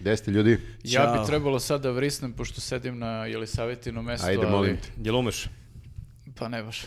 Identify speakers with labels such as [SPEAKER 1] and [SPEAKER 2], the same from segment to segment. [SPEAKER 1] Gde ste ljudi?
[SPEAKER 2] Ja
[SPEAKER 3] Ćao.
[SPEAKER 2] bi trebalo sad da vrisnem, pošto sedim na Jelisavetinu mestu,
[SPEAKER 1] Ajde,
[SPEAKER 2] ali...
[SPEAKER 1] molim te.
[SPEAKER 3] Jel umeš?
[SPEAKER 2] Pa ne baš.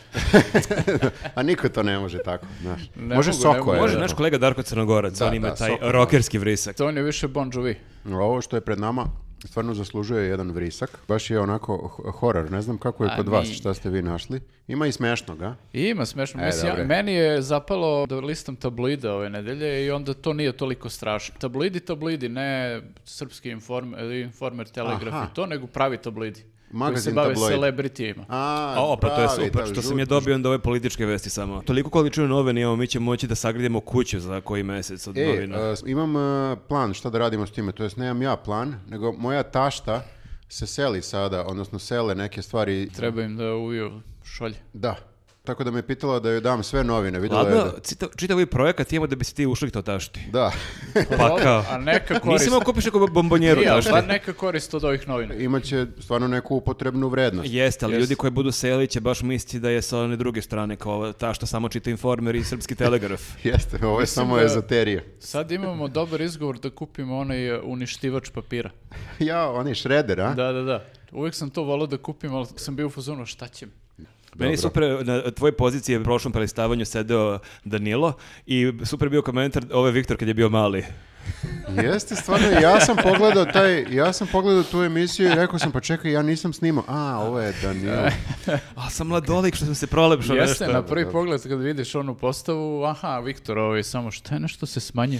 [SPEAKER 1] A niko to ne može tako, znaš.
[SPEAKER 2] Ne
[SPEAKER 1] može
[SPEAKER 2] mogu,
[SPEAKER 1] soko,
[SPEAKER 2] ne mogu.
[SPEAKER 1] je.
[SPEAKER 3] Može
[SPEAKER 2] da.
[SPEAKER 3] naš kolega Darko Crnogorac,
[SPEAKER 1] Da,
[SPEAKER 3] on ima
[SPEAKER 1] da,
[SPEAKER 3] taj
[SPEAKER 1] Sokol, da.
[SPEAKER 3] rockerski vrisak.
[SPEAKER 2] To on je više Bon Jovi.
[SPEAKER 1] Ovo što je pred nama stvarno zaslužuje jedan vrisak. Baš je onako h- horor, ne znam kako je
[SPEAKER 2] A,
[SPEAKER 1] kod vas,
[SPEAKER 2] mi-
[SPEAKER 1] šta ste vi našli. Ima i smešnog, a?
[SPEAKER 2] I ima smešno.
[SPEAKER 1] E,
[SPEAKER 2] Mislim, ja-
[SPEAKER 1] dobre.
[SPEAKER 2] meni je zapalo da listam tabloida ove nedelje i onda to nije toliko strašno. Tablidi, tablidi, ne srpski informer, informer telegraf
[SPEAKER 1] Aha.
[SPEAKER 2] i to, nego pravi tablidi. koji se
[SPEAKER 1] Magazin
[SPEAKER 2] bave
[SPEAKER 1] tabloid.
[SPEAKER 2] celebritijima.
[SPEAKER 1] A,
[SPEAKER 3] O, pa to je
[SPEAKER 1] pravi,
[SPEAKER 3] super,
[SPEAKER 1] da,
[SPEAKER 3] što sam
[SPEAKER 1] žuti,
[SPEAKER 3] je dobio onda ove političke vesti samo. Toliko količinu novina imamo, mi ćemo moći da sagradimo kuću za koji mesec od
[SPEAKER 1] E,
[SPEAKER 3] novina.
[SPEAKER 1] a, s- imam a, plan šta da radimo s time, to jest nemam ja plan, nego moja tašta se seli sada, odnosno sele neke stvari.
[SPEAKER 2] Treba im da uviju šolje.
[SPEAKER 1] Da. Tako da me pitala da joj dam sve novine, videla je
[SPEAKER 3] Ladno,
[SPEAKER 1] da...
[SPEAKER 3] cita- čitav ovaj projekat imamo da bi se ti ušli to tašti.
[SPEAKER 1] Da,
[SPEAKER 3] Pa kao.
[SPEAKER 2] A neka korist.
[SPEAKER 3] Nisi imao kupiš neku bombonjeru
[SPEAKER 2] Nije, ali pa
[SPEAKER 3] tašti.
[SPEAKER 2] bar neka korist od ovih novina.
[SPEAKER 1] imaće stvarno neku upotrebnu vrednost.
[SPEAKER 3] Jeste, ali
[SPEAKER 2] Jeste.
[SPEAKER 3] ljudi koji budu seli će baš misliti da je sa one druge strane kao ova ta što samo čita informer i srpski telegraf.
[SPEAKER 1] Jeste, ovo je samo
[SPEAKER 2] da-
[SPEAKER 1] ezoterija.
[SPEAKER 2] Sad imamo dobar izgovor da kupimo onaj e, uništivač papira.
[SPEAKER 1] Ja, on je šreder, a?
[SPEAKER 2] Da, da, da. Uvijek sam to volao da kupim, ali sam bio u fazonu šta ćem.
[SPEAKER 3] Meni je super, na tvojoj poziciji je u prošlom prelistavanju sedeo Danilo i super je bio komentar ove Viktor kad je bio mali.
[SPEAKER 1] Jeste, stvarno, ja sam pogledao taj, ja sam pogledao tu emisiju i rekao sam, pa čekaj, ja nisam snimao. A, ovo je Danilo.
[SPEAKER 3] A sam mladolik što sam se prolepšao
[SPEAKER 2] Jeste,
[SPEAKER 3] nešto.
[SPEAKER 2] na prvi pogled kad vidiš onu postavu, aha, Viktor, ovo je samo šta je nešto se smanje.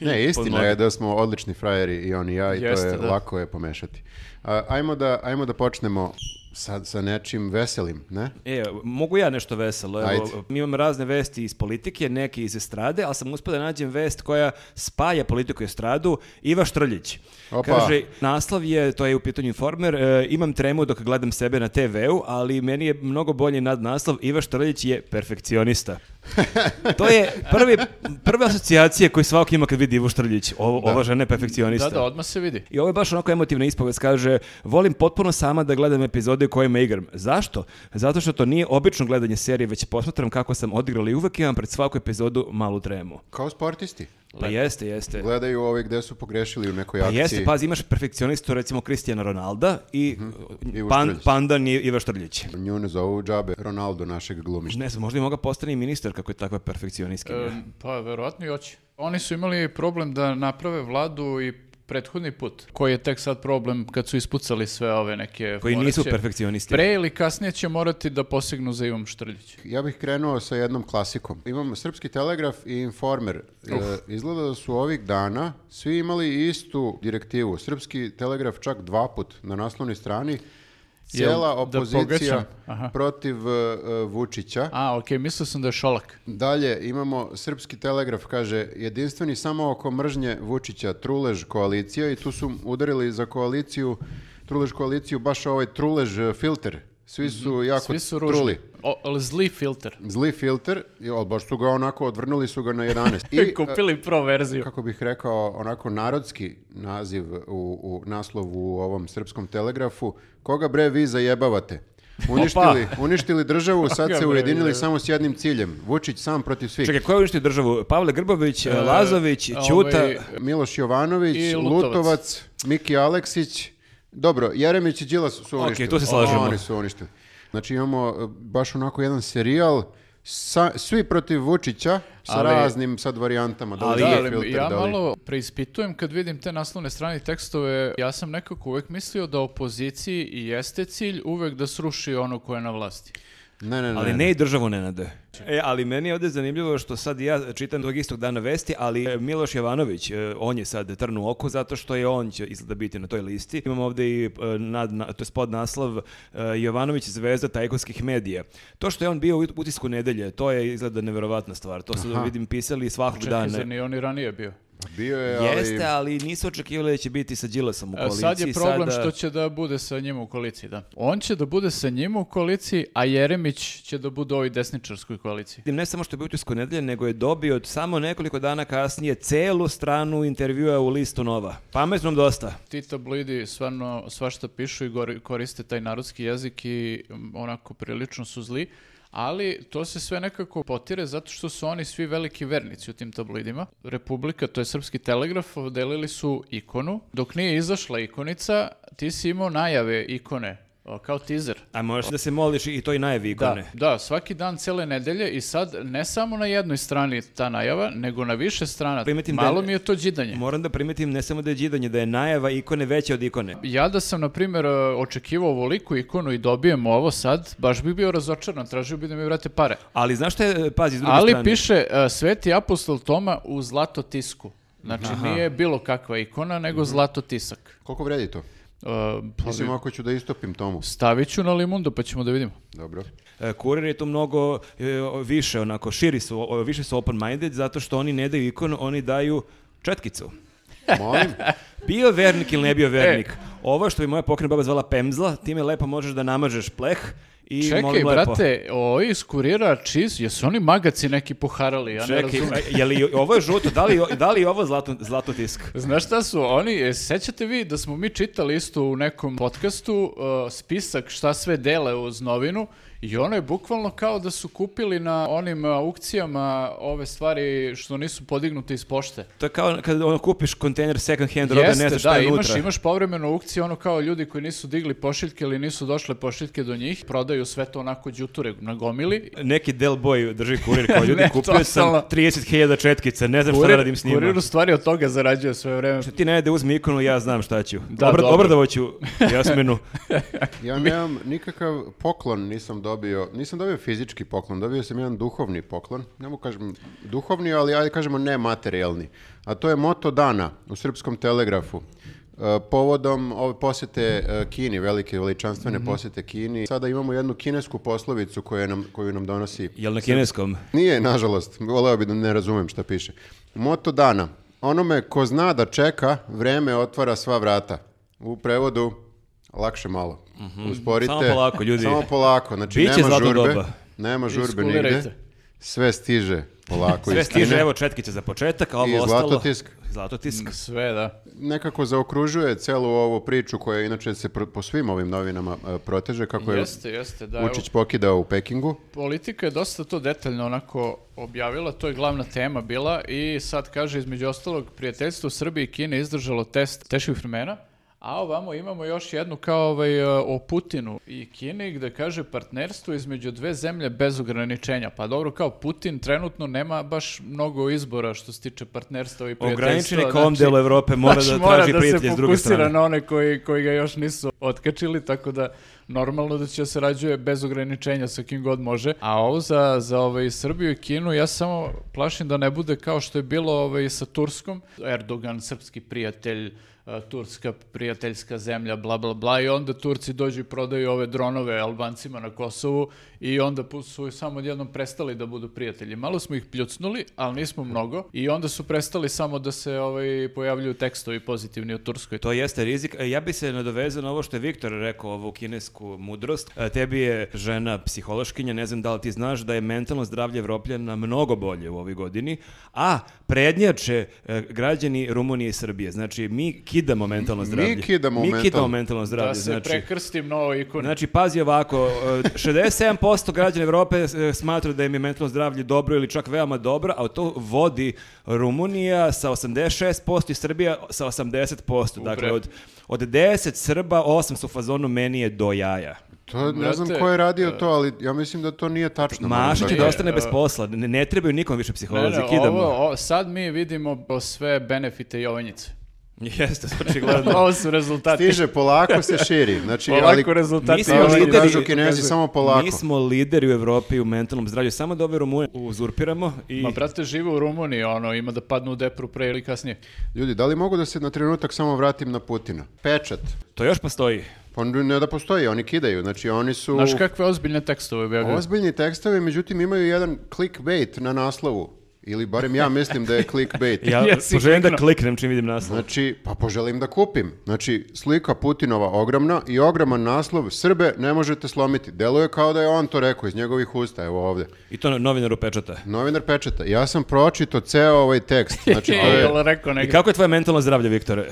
[SPEAKER 1] Ne, istina je da smo odlični frajeri i on i ja i
[SPEAKER 2] Jeste,
[SPEAKER 1] to je
[SPEAKER 2] da.
[SPEAKER 1] lako je pomešati. A, ajmo, da, ajmo da počnemo sa, sa nečim veselim, ne?
[SPEAKER 3] E, mogu ja nešto veselo?
[SPEAKER 1] Ajde.
[SPEAKER 3] Evo, mi imam razne vesti iz politike, neke iz estrade, ali sam uspio da nađem vest koja spaja politiku i estradu, Iva Štrljić.
[SPEAKER 1] Opa.
[SPEAKER 3] Kaže, naslov je, to je u pitanju informer, e, imam tremu dok gledam sebe na TV-u, ali meni je mnogo bolji nadnaslov, Iva Štrljić je perfekcionista. to je prvi, prve asocijacije koje svaki ima kad vidi Ivu Štrljić. Ovo, Ova žena je perfekcionista.
[SPEAKER 2] Da, da, odmah se vidi.
[SPEAKER 3] I ovo je baš onako emotivna ispovest, kaže, volim potpuno sama da gledam epizode u kojima igram. Zašto? Zato što to nije obično gledanje serije, već posmatram kako sam odigrala i uvek imam pred svaku epizodu malu tremu.
[SPEAKER 1] Kao sportisti.
[SPEAKER 3] Pa jeste, jeste.
[SPEAKER 1] Gledaju ove gde su pogrešili u nekoj
[SPEAKER 3] Pa
[SPEAKER 1] akciji.
[SPEAKER 3] jeste, pazi, imaš perfekcionistu, recimo Kristijana Ronalda i
[SPEAKER 1] Mhm. Ivo
[SPEAKER 3] pan,
[SPEAKER 1] Štrljić.
[SPEAKER 3] pandan i Iva Štrljić.
[SPEAKER 1] Nju ne zovu džabe Ronaldo našeg glumišta.
[SPEAKER 3] Ne znam, možda i moga postane i ministar kako je takva perfekcionistkinja.
[SPEAKER 2] E, pa, verovatno i hoće. Oni su imali problem da naprave vladu i prethodni put, koji je tek sad problem kad su ispucali sve ove neke...
[SPEAKER 3] koji
[SPEAKER 2] fore
[SPEAKER 3] nisu
[SPEAKER 2] će-
[SPEAKER 3] perfekcionisti.
[SPEAKER 2] Pre ili kasnije će morati da posegnu za Ivom Štrljić.
[SPEAKER 1] Ja bih krenuo sa jednom klasikom. Imam Srpski telegraf i Informer. E, izgleda da su ovih dana svi imali istu direktivu. Srpski telegraf čak dva put na naslovnoj strani. Cijela
[SPEAKER 2] da
[SPEAKER 1] opozicija
[SPEAKER 2] pogađam? Aha.
[SPEAKER 1] protiv e, e, Vučića.
[SPEAKER 2] A, okej, mislio sam da je Šolak.
[SPEAKER 1] Dalje imamo Srpski telegraf, kaže, jedinstveni samo oko mržnje Vučića, trulež koalicija i tu su udarili za koaliciju, trulež koaliciju, baš ovaj trulež e, filter. Svi su jako
[SPEAKER 2] Mhm. Svi su ružni.
[SPEAKER 1] truli.
[SPEAKER 2] O, ali zli filter.
[SPEAKER 1] Zli filter, i, ali baš su ga onako, odvrnuli su ga na 11.
[SPEAKER 2] I
[SPEAKER 1] I, e,
[SPEAKER 2] kupili pro verziju.
[SPEAKER 1] kako bih rekao, onako narodski naziv u, u naslovu u ovom srpskom telegrafu, koga bre vi zajebavate? Uništili, uništili državu, sad
[SPEAKER 2] Koga
[SPEAKER 1] se
[SPEAKER 2] bre
[SPEAKER 1] ujedinili
[SPEAKER 2] zajebavate?
[SPEAKER 1] samo s jednim ciljem. Vučić sam protiv svih.
[SPEAKER 3] Čekaj, ko je uništio državu? Pavle Grbović, Lazović,
[SPEAKER 2] E,
[SPEAKER 3] Ćuta...
[SPEAKER 2] ovaj,
[SPEAKER 1] Miloš Jovanović,
[SPEAKER 2] I
[SPEAKER 1] Lutovac.
[SPEAKER 2] Lutovac.
[SPEAKER 1] Miki Aleksić. Dobro, Jeremić i Đilas su
[SPEAKER 3] Ok,
[SPEAKER 1] uništili.
[SPEAKER 3] tu se slažemo.
[SPEAKER 1] Oni su uništili. Znači imamo e, baš onako jedan serijal sa, svi protiv Vučića sa
[SPEAKER 2] Ali-
[SPEAKER 1] raznim sad varijantama. Da,
[SPEAKER 3] Ali
[SPEAKER 1] li
[SPEAKER 2] Da,
[SPEAKER 1] je
[SPEAKER 2] ali
[SPEAKER 1] filter,
[SPEAKER 2] ja
[SPEAKER 1] da li-
[SPEAKER 2] malo preispitujem kad vidim te naslovne strane i tekstove. Ja sam nekako uvek mislio da opoziciji i jeste cilj uvek da sruši ono koje je na vlasti.
[SPEAKER 1] Ne, ne, ne.
[SPEAKER 3] Ali
[SPEAKER 1] ne.
[SPEAKER 3] ne i državu Nenade. E, ali meni je ovdje zanimljivo što sad ja čitam tog istog dana vesti, ali e, Miloš Jovanović, e, on je sad trn u oku zato što je on će izgleda biti na toj listi. Imamo ovdje i e, nad, na, to je spod naslov e, Jovanović zvezda tajkonskih medija. To što je on bio u utisku nedelje, to je izgleda neverovatna stvar. To sad vidim pisali svakog
[SPEAKER 2] Čekaj,
[SPEAKER 3] dana.
[SPEAKER 2] zar ni on i ranije bio?
[SPEAKER 1] Bio je, ali...
[SPEAKER 3] Jeste, ali nisu očekivali da će biti sa Đilasom u
[SPEAKER 2] E,
[SPEAKER 3] koaliciji.
[SPEAKER 2] Sad je problem
[SPEAKER 3] sada-
[SPEAKER 2] što će da bude sa njim u koaliciji, da. On će da bude sa njim u koaliciji, a Jeremić će da bude u ovoj desničarskoj koaliciji.
[SPEAKER 3] Ne samo što je bio utisku nedelje, nego je dobio od samo nekoliko dana kasnije celu stranu intervjua u listu Nova. Pametnom dosta.
[SPEAKER 2] Ti tabloidi stvarno svašta pišu i gori- koriste taj narodski jezik i mm, onako prilično su zli, Ali to se sve nekako potire zato što su oni svi veliki vernici u tim tabloidima. Republika, to je Srpski telegraf, delili su ikonu. Dok nije izašla ikonica, ti si imao najave ikone o, kao teaser.
[SPEAKER 3] A možeš da se moliš i toj najavi
[SPEAKER 2] Da,
[SPEAKER 3] ikone.
[SPEAKER 2] da, svaki dan cele nedelje i sad ne samo na jednoj strani ta najava, nego na više strana.
[SPEAKER 3] Primetim Pa da-
[SPEAKER 2] Malo mi je to đidanje.
[SPEAKER 3] Moram da primetim ne samo da je džidanje, da je najava ikone veća od ikone.
[SPEAKER 2] Ja da sam, na primjer, e, očekivao ovoliku ikonu i dobijem ovo sad, baš bi bio razočaran, tražio bi da mi vrate pare.
[SPEAKER 3] Ali znaš šta je, e, pazi, s druge
[SPEAKER 2] Ali
[SPEAKER 3] strane.
[SPEAKER 2] piše e, Sveti apostol Toma u zlato tisku. Znači nije bilo kakva ikona, nego
[SPEAKER 3] Mhm.
[SPEAKER 2] zlato tisak.
[SPEAKER 1] Koliko vredi to?
[SPEAKER 2] E, pa
[SPEAKER 1] Mislim, ako ću da istopim tomu.
[SPEAKER 2] stavit ću na Limundo pa ćemo da vidimo.
[SPEAKER 1] Dobro.
[SPEAKER 3] E, Kurir je tu mnogo e, o- više, onako, širi su, o- više su open-minded, zato što oni ne daju ikonu, oni daju četkicu.
[SPEAKER 1] Molim?
[SPEAKER 3] Bio vernik ili ne
[SPEAKER 2] E.
[SPEAKER 3] bio vernik? Ovo što bi moja pokojna baba zvala pemzla, time lepo možeš da namažeš pleh i
[SPEAKER 2] Čekaj,
[SPEAKER 3] molim lepo.
[SPEAKER 2] brate, ovo iz kurira čist, jesu oni magaci neki poharali, ja ne
[SPEAKER 3] Čekaj,
[SPEAKER 2] razumem.
[SPEAKER 3] a, je li ovo je žuto? Da li, da li je ovo zlato, zlato tisk?
[SPEAKER 2] Znaš šta su oni, e, sećate vi da smo mi čitali isto u nekom podcastu e, spisak šta sve dele uz novinu i ono je bukvalno kao da su kupili na onim e, aukcijama ove stvari što nisu podignute iz pošte.
[SPEAKER 3] To je kao kada ono kupiš kontejner second hand robe, ne znaš šta
[SPEAKER 2] da,
[SPEAKER 3] je
[SPEAKER 2] imaš,
[SPEAKER 3] unutra.
[SPEAKER 2] imaš povremeno aukcije, ono kao ljudi koji nisu digli pošiljke ili nisu došle pošiljke do njih, prodaju sve to onako đuture na gomili.
[SPEAKER 3] Neki del boy drži kurir kao ljudi,
[SPEAKER 2] Ne,
[SPEAKER 3] kupio sam
[SPEAKER 2] totalno.
[SPEAKER 3] 30.000 četkica, ne znam šta da radim s njima.
[SPEAKER 2] kurir u stvari od toga zarađuje sve vreme.
[SPEAKER 3] Ti ne da uzmi ikonu, ja znam šta ću.
[SPEAKER 2] Da,
[SPEAKER 3] Obra-
[SPEAKER 2] dobro.
[SPEAKER 3] Obradovat ću Jasminu.
[SPEAKER 1] Ja nemam nikakav poklon nisam dobio, nisam dobio fizički poklon, dobio sam jedan duhovni poklon, ne mogu kažem duhovni, ali ajde kažemo nematerijalni. A to je moto dana u Srpskom telegrafu. E, Povodom ove posjete e, Kini, velike veličanstvene posjete Kini, sada imamo jednu kinesku poslovicu koju nam, koju nam donosi
[SPEAKER 3] Jel na kineskom?
[SPEAKER 1] nije, nažalost. Voleo bi da ne razumem šta piše. Moto dana. Onome ko zna da čeka, vreme otvara sva vrata. U prevodu, lakše malo. Usporite.
[SPEAKER 3] Mhm. Samo polako, ljudi.
[SPEAKER 1] Samo polako. Znači,
[SPEAKER 3] Biće
[SPEAKER 1] nema
[SPEAKER 3] zlatno
[SPEAKER 1] žurbe.
[SPEAKER 3] doba.
[SPEAKER 1] Nema žurbe
[SPEAKER 2] Iskulirajte.
[SPEAKER 1] nigde. Sve stiže polako
[SPEAKER 3] Sve
[SPEAKER 1] iz Kine.
[SPEAKER 3] stiže, evo četkice za početak, a ovo
[SPEAKER 1] I
[SPEAKER 3] ostalo...
[SPEAKER 1] zlatotisk.
[SPEAKER 3] Zlatotisk.
[SPEAKER 2] Sve, da.
[SPEAKER 1] Nekako zaokružuje celu ovu priču koja inače se pro- po svim ovim novinama e, proteže kako je
[SPEAKER 2] Jeste, jeste, da. evo.
[SPEAKER 1] Vučić pokidao u Pekingu.
[SPEAKER 2] Politika je dosta to detaljno onako objavila, to je glavna tema bila i sad kaže između ostalog prijateljstvo Srbije i Kine izdržalo test teških vremena, a ovamo imamo još jednu kao ovaj, e, o Putinu i Kini gde kaže partnerstvo između dve zemlje bez ograničenja. Pa dobro, kao Putin trenutno nema baš mnogo izbora što se tiče partnerstva i prijateljstva.
[SPEAKER 3] Ograničen je kao ovom delu Evrope, mora
[SPEAKER 2] Znaš,
[SPEAKER 3] da traži
[SPEAKER 2] znači- da se
[SPEAKER 3] prijatelje s druge
[SPEAKER 2] fokusira
[SPEAKER 3] strane.
[SPEAKER 2] na one koji, koji ga još nisu otkačili, tako da normalno da će se rađuje bez ograničenja sa kim god može. A ovo za, za ovaj, Srbiju i Kinu, ja samo plašim da ne bude kao što je bilo ovaj, sa Turskom. Erdogan, srpski prijatelj, eh, Turska prijateljska zemlja, bla, bla, bla, i onda Turci dođu i prodaju ove dronove Albancima na Kosovu i onda pu- su samo odjednom prestali da budu prijatelji. Malo smo ih pljucnuli, ali nismo mnogo i onda su prestali samo da se ovaj, pojavljuju tekstovi pozitivni u Turskoj.
[SPEAKER 3] To jeste rizik. E, Ja bi se nadovezao na ovo što je Viktor rekao, ovu kinesku mudrost. E, Tebi je žena psihološkinja, ne znam da li ti znaš da je mentalno zdravlje Evropljana mnogo bolje u ovoj godini, a prednjače e, građani Rumunije i Srbije. Znači, mi kidamo mentalno zdravlje.
[SPEAKER 1] kidamo
[SPEAKER 3] Mi
[SPEAKER 1] mentalno-
[SPEAKER 3] kidamo mentalno zdravlje.
[SPEAKER 2] da se
[SPEAKER 3] znači,
[SPEAKER 2] prekrstim na ovoj ikoni.
[SPEAKER 3] Znači, pazi ovako, e, 67% građana Evrope e, smatra da im je mentalno zdravlje dobro ili čak veoma dobro, a to vodi Rumunija sa 86% i Srbija sa 80%. Dakle,
[SPEAKER 2] Upravo.
[SPEAKER 3] od, od 10 Srba, 8 su u fazonu meni je do jaja.
[SPEAKER 1] To ne znam
[SPEAKER 2] Brate,
[SPEAKER 1] ko je
[SPEAKER 3] e.
[SPEAKER 1] radio to, ali ja mislim da to nije tačno. moram
[SPEAKER 3] Maša će
[SPEAKER 1] kažem.
[SPEAKER 3] da ostane bez posla, ne, ne trebaju nikom više
[SPEAKER 2] Ne, ne,
[SPEAKER 3] psiholozi, kidamo.
[SPEAKER 2] ovo- ovo- sad mi vidimo sve benefite Jovanjice.
[SPEAKER 3] Jeste, očigledno.
[SPEAKER 2] Ovo su rezultati.
[SPEAKER 1] Stiže, polako se širi. Znači,
[SPEAKER 2] Polako
[SPEAKER 1] ali,
[SPEAKER 2] rezultati.
[SPEAKER 3] Mi smo
[SPEAKER 1] Kao što
[SPEAKER 3] lideri-
[SPEAKER 1] kažu kinezi, samo polako.
[SPEAKER 3] Mi smo lideri u Evropi u mentalnom zdravlju, samo da ove Rumune uzurpiramo i...
[SPEAKER 2] Ma, brate, žive u Rumuniji, ono, ima da padnu u depru pre ili kasnije.
[SPEAKER 1] Ljudi, da li mogu da se na trenutak samo vratim na Putina? Pečat.
[SPEAKER 3] To još postoji.
[SPEAKER 1] Pa ne da postoji, oni kidaju. Znači, oni su...
[SPEAKER 2] Znaš kakve ozbiljne tekstove bi ja bio?
[SPEAKER 1] Ozbiljni tekstovi, međutim, imaju jedan clickbait na naslovu. Ili barem ja mislim da je clickbait.
[SPEAKER 3] Ja
[SPEAKER 2] Jesi
[SPEAKER 3] poželim da
[SPEAKER 2] kliknuo.
[SPEAKER 3] kliknem čim vidim naslov.
[SPEAKER 1] Znači, pa poželim da kupim. Znači, slika Putinova ogromna i ogroman naslov Srbe ne možete slomiti. Deluje kao da je on to rekao iz njegovih usta, evo ovdje.
[SPEAKER 3] I to novinaru pečata.
[SPEAKER 1] Novinar pečeta. Ja sam pročito ceo ovaj tekst. Znači, to je-
[SPEAKER 2] Jel rekao
[SPEAKER 3] I
[SPEAKER 2] negdje?
[SPEAKER 3] kako je tvoje mentalno zdravlje, Viktore?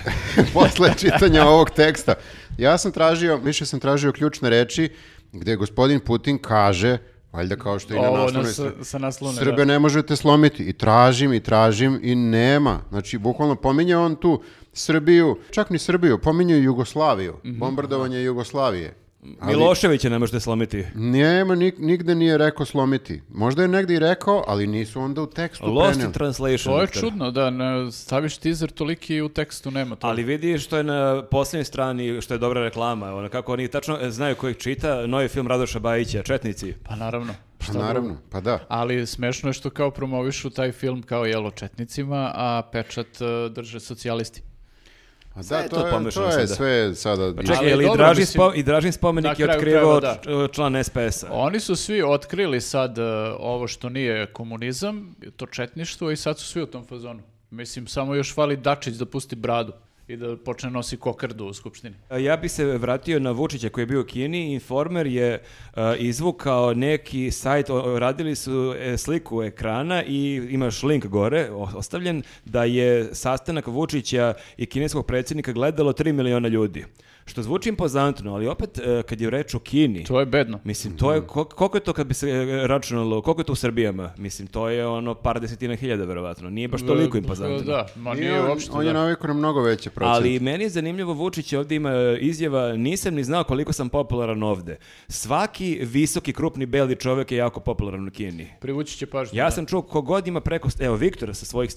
[SPEAKER 1] posle čitanja ovog teksta. Ja sam tražio, više sam tražio ključne reči gdje gospodin Putin kaže Valjda kao što i na
[SPEAKER 2] Ovo na,
[SPEAKER 1] naslovnoj
[SPEAKER 2] sa,
[SPEAKER 1] strani.
[SPEAKER 2] sa naslovne,
[SPEAKER 1] Srbe ne možete slomiti. I tražim, i tražim, i nema. Znači, bukvalno pominje on tu Srbiju, čak ni Srbiju, pominje Jugoslaviju,
[SPEAKER 3] Mhm.
[SPEAKER 1] bombardovanje Jugoslavije. Ali
[SPEAKER 3] Miloševića ne možete slomiti.
[SPEAKER 1] Nema, nik- nigde nije rekao slomiti. Možda je negdje i rekao, ali nisu onda u tekstu
[SPEAKER 3] Lost in
[SPEAKER 1] preneli.
[SPEAKER 3] translation.
[SPEAKER 2] To je
[SPEAKER 3] doktor.
[SPEAKER 2] čudno, da, ne, staviš teaser toliki i u tekstu nema to.
[SPEAKER 3] Ali vidi što je na posljednjoj strani, što je dobra reklama, ono kako oni tačno e, znaju kojeg čita, novi film Radoša Bajića, Četnici.
[SPEAKER 2] Pa naravno.
[SPEAKER 1] Pa naravno, pa da.
[SPEAKER 2] Ali smešno je što kao promovišu taj film kao jelo četnicima, a pečat e, drže socijalisti.
[SPEAKER 1] A
[SPEAKER 3] sve
[SPEAKER 1] da,
[SPEAKER 3] je
[SPEAKER 1] to,
[SPEAKER 3] to
[SPEAKER 1] je,
[SPEAKER 3] pomešano
[SPEAKER 1] to je
[SPEAKER 3] sada. Pa
[SPEAKER 1] sve sada.
[SPEAKER 3] Čekaj,
[SPEAKER 2] Ali
[SPEAKER 3] je li
[SPEAKER 2] dobro,
[SPEAKER 3] Dražin,
[SPEAKER 2] mislim-
[SPEAKER 3] spo- i Dražin
[SPEAKER 2] Na
[SPEAKER 3] spomenik je
[SPEAKER 2] kraju
[SPEAKER 3] otkrivao
[SPEAKER 2] krajeva,
[SPEAKER 3] č- član SPS-a.
[SPEAKER 2] Oni su svi otkrili sad e, ovo što nije komunizam, to četništvo i sad su svi u tom fazonu. Mislim, samo još fali Dačić da pusti bradu i da počne nosi kokardu u skupštini.
[SPEAKER 3] E, Ja bi se vratio na Vučića koji je bio u Kini. Informer je e, izvukao neki sajt, o- o, radili su e, sliku ekrana i imaš link gore o- ostavljen da je sastanak Vučića i kineskog predsjednika gledalo 3 miliona ljudi. Što zvuči impozantno, ali opet e, kad je reč o Kini...
[SPEAKER 2] To je bedno.
[SPEAKER 3] Mislim, to je, kol- koliko je to kad bi se e, računalo, koliko je to u Srbijama? Mislim, to je ono par desetina hiljada, verovatno. Nije baš toliko
[SPEAKER 2] E,
[SPEAKER 3] impozantno.
[SPEAKER 2] Da, ma
[SPEAKER 1] Nije
[SPEAKER 2] nije
[SPEAKER 1] on,
[SPEAKER 2] uopšte.
[SPEAKER 1] on
[SPEAKER 2] da.
[SPEAKER 1] je navikao na mnogo veće procente.
[SPEAKER 3] Ali meni je zanimljivo, Vučić je ovdje ima e, izjava, nisam ni znao koliko sam popularan ovdje. Svaki visoki, krupni, beli čovjek je jako popularan u Kini.
[SPEAKER 2] Privući će pažnju.
[SPEAKER 3] Ja
[SPEAKER 2] da.
[SPEAKER 3] sam čuo kogod ima preko, evo Viktora sa svojih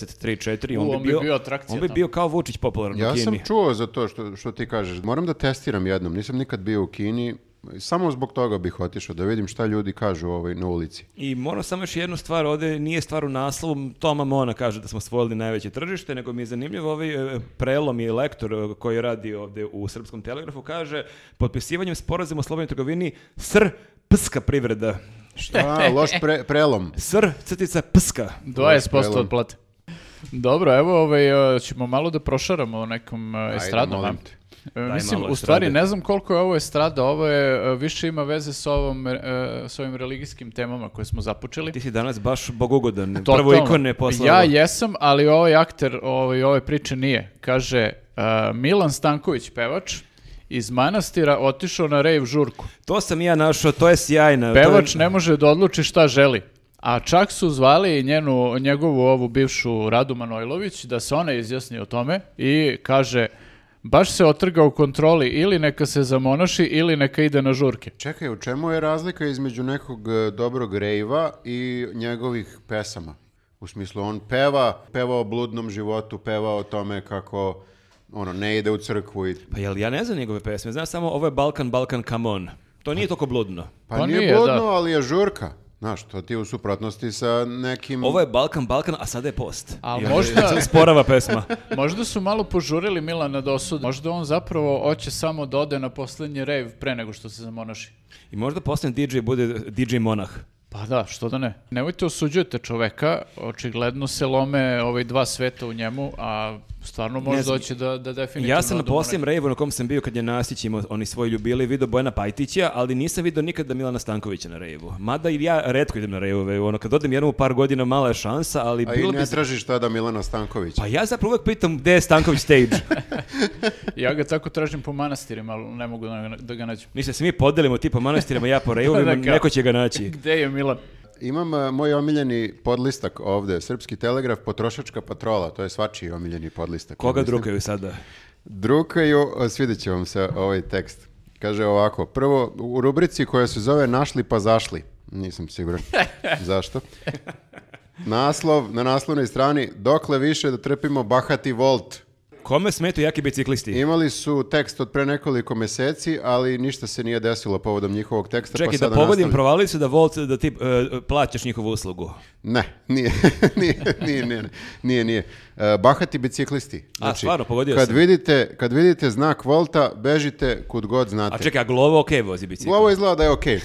[SPEAKER 3] 193-4,
[SPEAKER 2] U,
[SPEAKER 3] on, bi bio,
[SPEAKER 2] atrakcija
[SPEAKER 3] on bi
[SPEAKER 2] tamo.
[SPEAKER 3] bio kao Vučić popularan u
[SPEAKER 1] Ja
[SPEAKER 3] Kini.
[SPEAKER 1] sam čuo za to što, što ti kažeš. Moram da testiram jednom. Nisam nikad bio u Kini. Samo zbog toga bih otišao da vidim šta ljudi kažu ovaj, na ulici.
[SPEAKER 3] I moram samo još jednu stvar, ovdje nije stvar u naslovu, Toma Mona kaže da smo osvojili najveće tržište, nego mi je zanimljivo ovaj e, prelom i lektor e, koji radi ovdje u Srpskom telegrafu, kaže potpisivanjem sporazuma o slobodnoj trgovini sr pska privreda.
[SPEAKER 1] A, loš pre- prelom.
[SPEAKER 3] Sr crtica pska.
[SPEAKER 2] 20%
[SPEAKER 1] Prelom.
[SPEAKER 2] od plate. Dobro, evo, ovaj, e, ćemo malo da prošaramo o nekom e, estradom. a?
[SPEAKER 1] molim te.
[SPEAKER 2] E, Mislim,
[SPEAKER 3] malo
[SPEAKER 2] u stvari,
[SPEAKER 3] estrade.
[SPEAKER 2] ne znam koliko je ovo estrada, ovo je, e, više ima veze s, ovom, e, s ovim religijskim temama koje smo započeli.
[SPEAKER 3] Ti si danas baš bogugodan.
[SPEAKER 2] Totalno.
[SPEAKER 3] Prvo ikone posle.
[SPEAKER 2] Ja
[SPEAKER 3] ovo.
[SPEAKER 2] jesam, ali ovaj akter ovaj, ove priče nije. Kaže, e, Milan Stanković, pevač, iz manastira otišao na rave žurku.
[SPEAKER 3] To sam ja našao, to je sjajno. to je-
[SPEAKER 2] Pevač ne može da odluči šta želi. A čak su zvali i njenu, njegovu ovu bivšu Radu Manojlović da se ona izjasni o tome i kaže baš se otrga u kontroli ili neka se zamonaši ili neka ide na žurke.
[SPEAKER 1] Čekaj, u čemu je razlika između nekog e, dobrog rejva i njegovih pesama? U smislu, on peva, peva o bludnom životu, peva o tome kako ono, ne ide u crkvu. I...
[SPEAKER 3] Pa jel, ja ne znam njegove pesme, znam samo ovo je Balkan, Balkan, come on. To nije toliko bludno.
[SPEAKER 1] Pa,
[SPEAKER 2] Pa
[SPEAKER 1] nije,
[SPEAKER 2] nije,
[SPEAKER 1] bludno,
[SPEAKER 2] da.
[SPEAKER 1] ali je žurka. Znaš, to ti je u suprotnosti sa nekim...
[SPEAKER 3] Ovo je Balkan, Balkan, a sada je post.
[SPEAKER 2] A
[SPEAKER 3] I onda
[SPEAKER 2] možda-
[SPEAKER 3] se Sporava pesma.
[SPEAKER 2] Možda su malo požurili Milana da osude. Možda on zapravo hoće samo da ode na posljednji rave pre nego što se zamonaši.
[SPEAKER 3] I možda posljednji DJ bude DJ Monah.
[SPEAKER 2] Pa da, što da ne. Nemojte osuđujete čoveka, očigledno se lome ovaj dva sveta u njemu, a stvarno možda
[SPEAKER 3] znam.
[SPEAKER 2] hoće da, da definitivno...
[SPEAKER 3] Ja sam na
[SPEAKER 2] ode u onaj-
[SPEAKER 3] posljednjem rejvu na kom sam bio kad je Nasić imao oni svoj ljubili, video Bojana Pajtića, ali nisam video nikada Milana Stankovića na rejvu. Mada i ja redko idem na rejvove, ono kad odem jednom u par godina mala je šansa, ali
[SPEAKER 1] A i
[SPEAKER 3] bilo
[SPEAKER 1] ne
[SPEAKER 3] bi...
[SPEAKER 1] tražiš tada Milana Stankovića.
[SPEAKER 3] Pa ja zapravo uvek pitam gde je Stanković stage.
[SPEAKER 2] Ja ga tako tražim po manastirima, ali ne mogu da, da ga nađem.
[SPEAKER 3] Mi se svi podelimo, tipa manastirama, ja po rejovima,
[SPEAKER 2] Da, kao.
[SPEAKER 3] neko će ga naći.
[SPEAKER 2] Gde je Milan?
[SPEAKER 1] Imam e, moj omiljeni podlistak ovdje, Srpski telegraf, potrošačka patrola, to je svačiji omiljeni podlistak.
[SPEAKER 3] Koga
[SPEAKER 1] Ja mislim.
[SPEAKER 3] drukaju sada?
[SPEAKER 1] Drukaju, o, svidjet će vam se ovaj tekst. Kaže ovako, prvo u rubrici koja se zove Našli pa zašli, nisam siguran zašto. Naslov, na naslovnoj strani, dokle više da trpimo bahati volt.
[SPEAKER 3] Kome smetu jaki biciklisti?
[SPEAKER 1] Imali su tekst od pre nekoliko meseci, ali ništa se nije desilo povodom njihovog teksta.
[SPEAKER 3] Čekaj,
[SPEAKER 1] pa
[SPEAKER 3] da
[SPEAKER 1] sada
[SPEAKER 3] pogodim,
[SPEAKER 1] nastavljamo.
[SPEAKER 3] provali su da Volt, da ti e, plaćaš njihovu uslugu.
[SPEAKER 1] Ne, nije, nije, nije, nije, nije, nije. E, bahati biciklisti. Znači,
[SPEAKER 3] stvarno, pogodio
[SPEAKER 1] kad
[SPEAKER 3] sam.
[SPEAKER 1] Vidite, kad vidite znak volta, bežite kud god
[SPEAKER 3] A
[SPEAKER 1] znate.
[SPEAKER 3] čekaj, a Glovo okej vozi bicikl.
[SPEAKER 1] Ovo izgleda da je okej.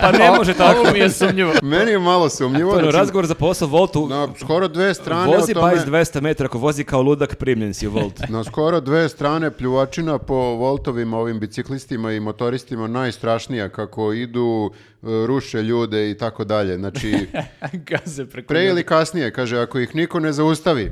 [SPEAKER 3] Pa ne može tako.
[SPEAKER 2] Ovo mi je sumnjivo.
[SPEAKER 1] Meni je malo sumnjivo.
[SPEAKER 3] To je ono,
[SPEAKER 1] znači,
[SPEAKER 3] razgovor za posao Voltu.
[SPEAKER 1] na skoro dve strane
[SPEAKER 3] Vozi
[SPEAKER 1] o tome...
[SPEAKER 3] bajs 200 metara, ako vozi kao ludak, primljen si u Volt.
[SPEAKER 1] Na skoro dve strane pljuvačina po voltovim ovim biciklistima i motoristima najstrašnija kako idu, e, ruše ljude i tako dalje. Znači,
[SPEAKER 2] Gaze preko
[SPEAKER 1] pre
[SPEAKER 2] njega.
[SPEAKER 1] ili kasnije, kaže, ako ih niko ne zaustavi,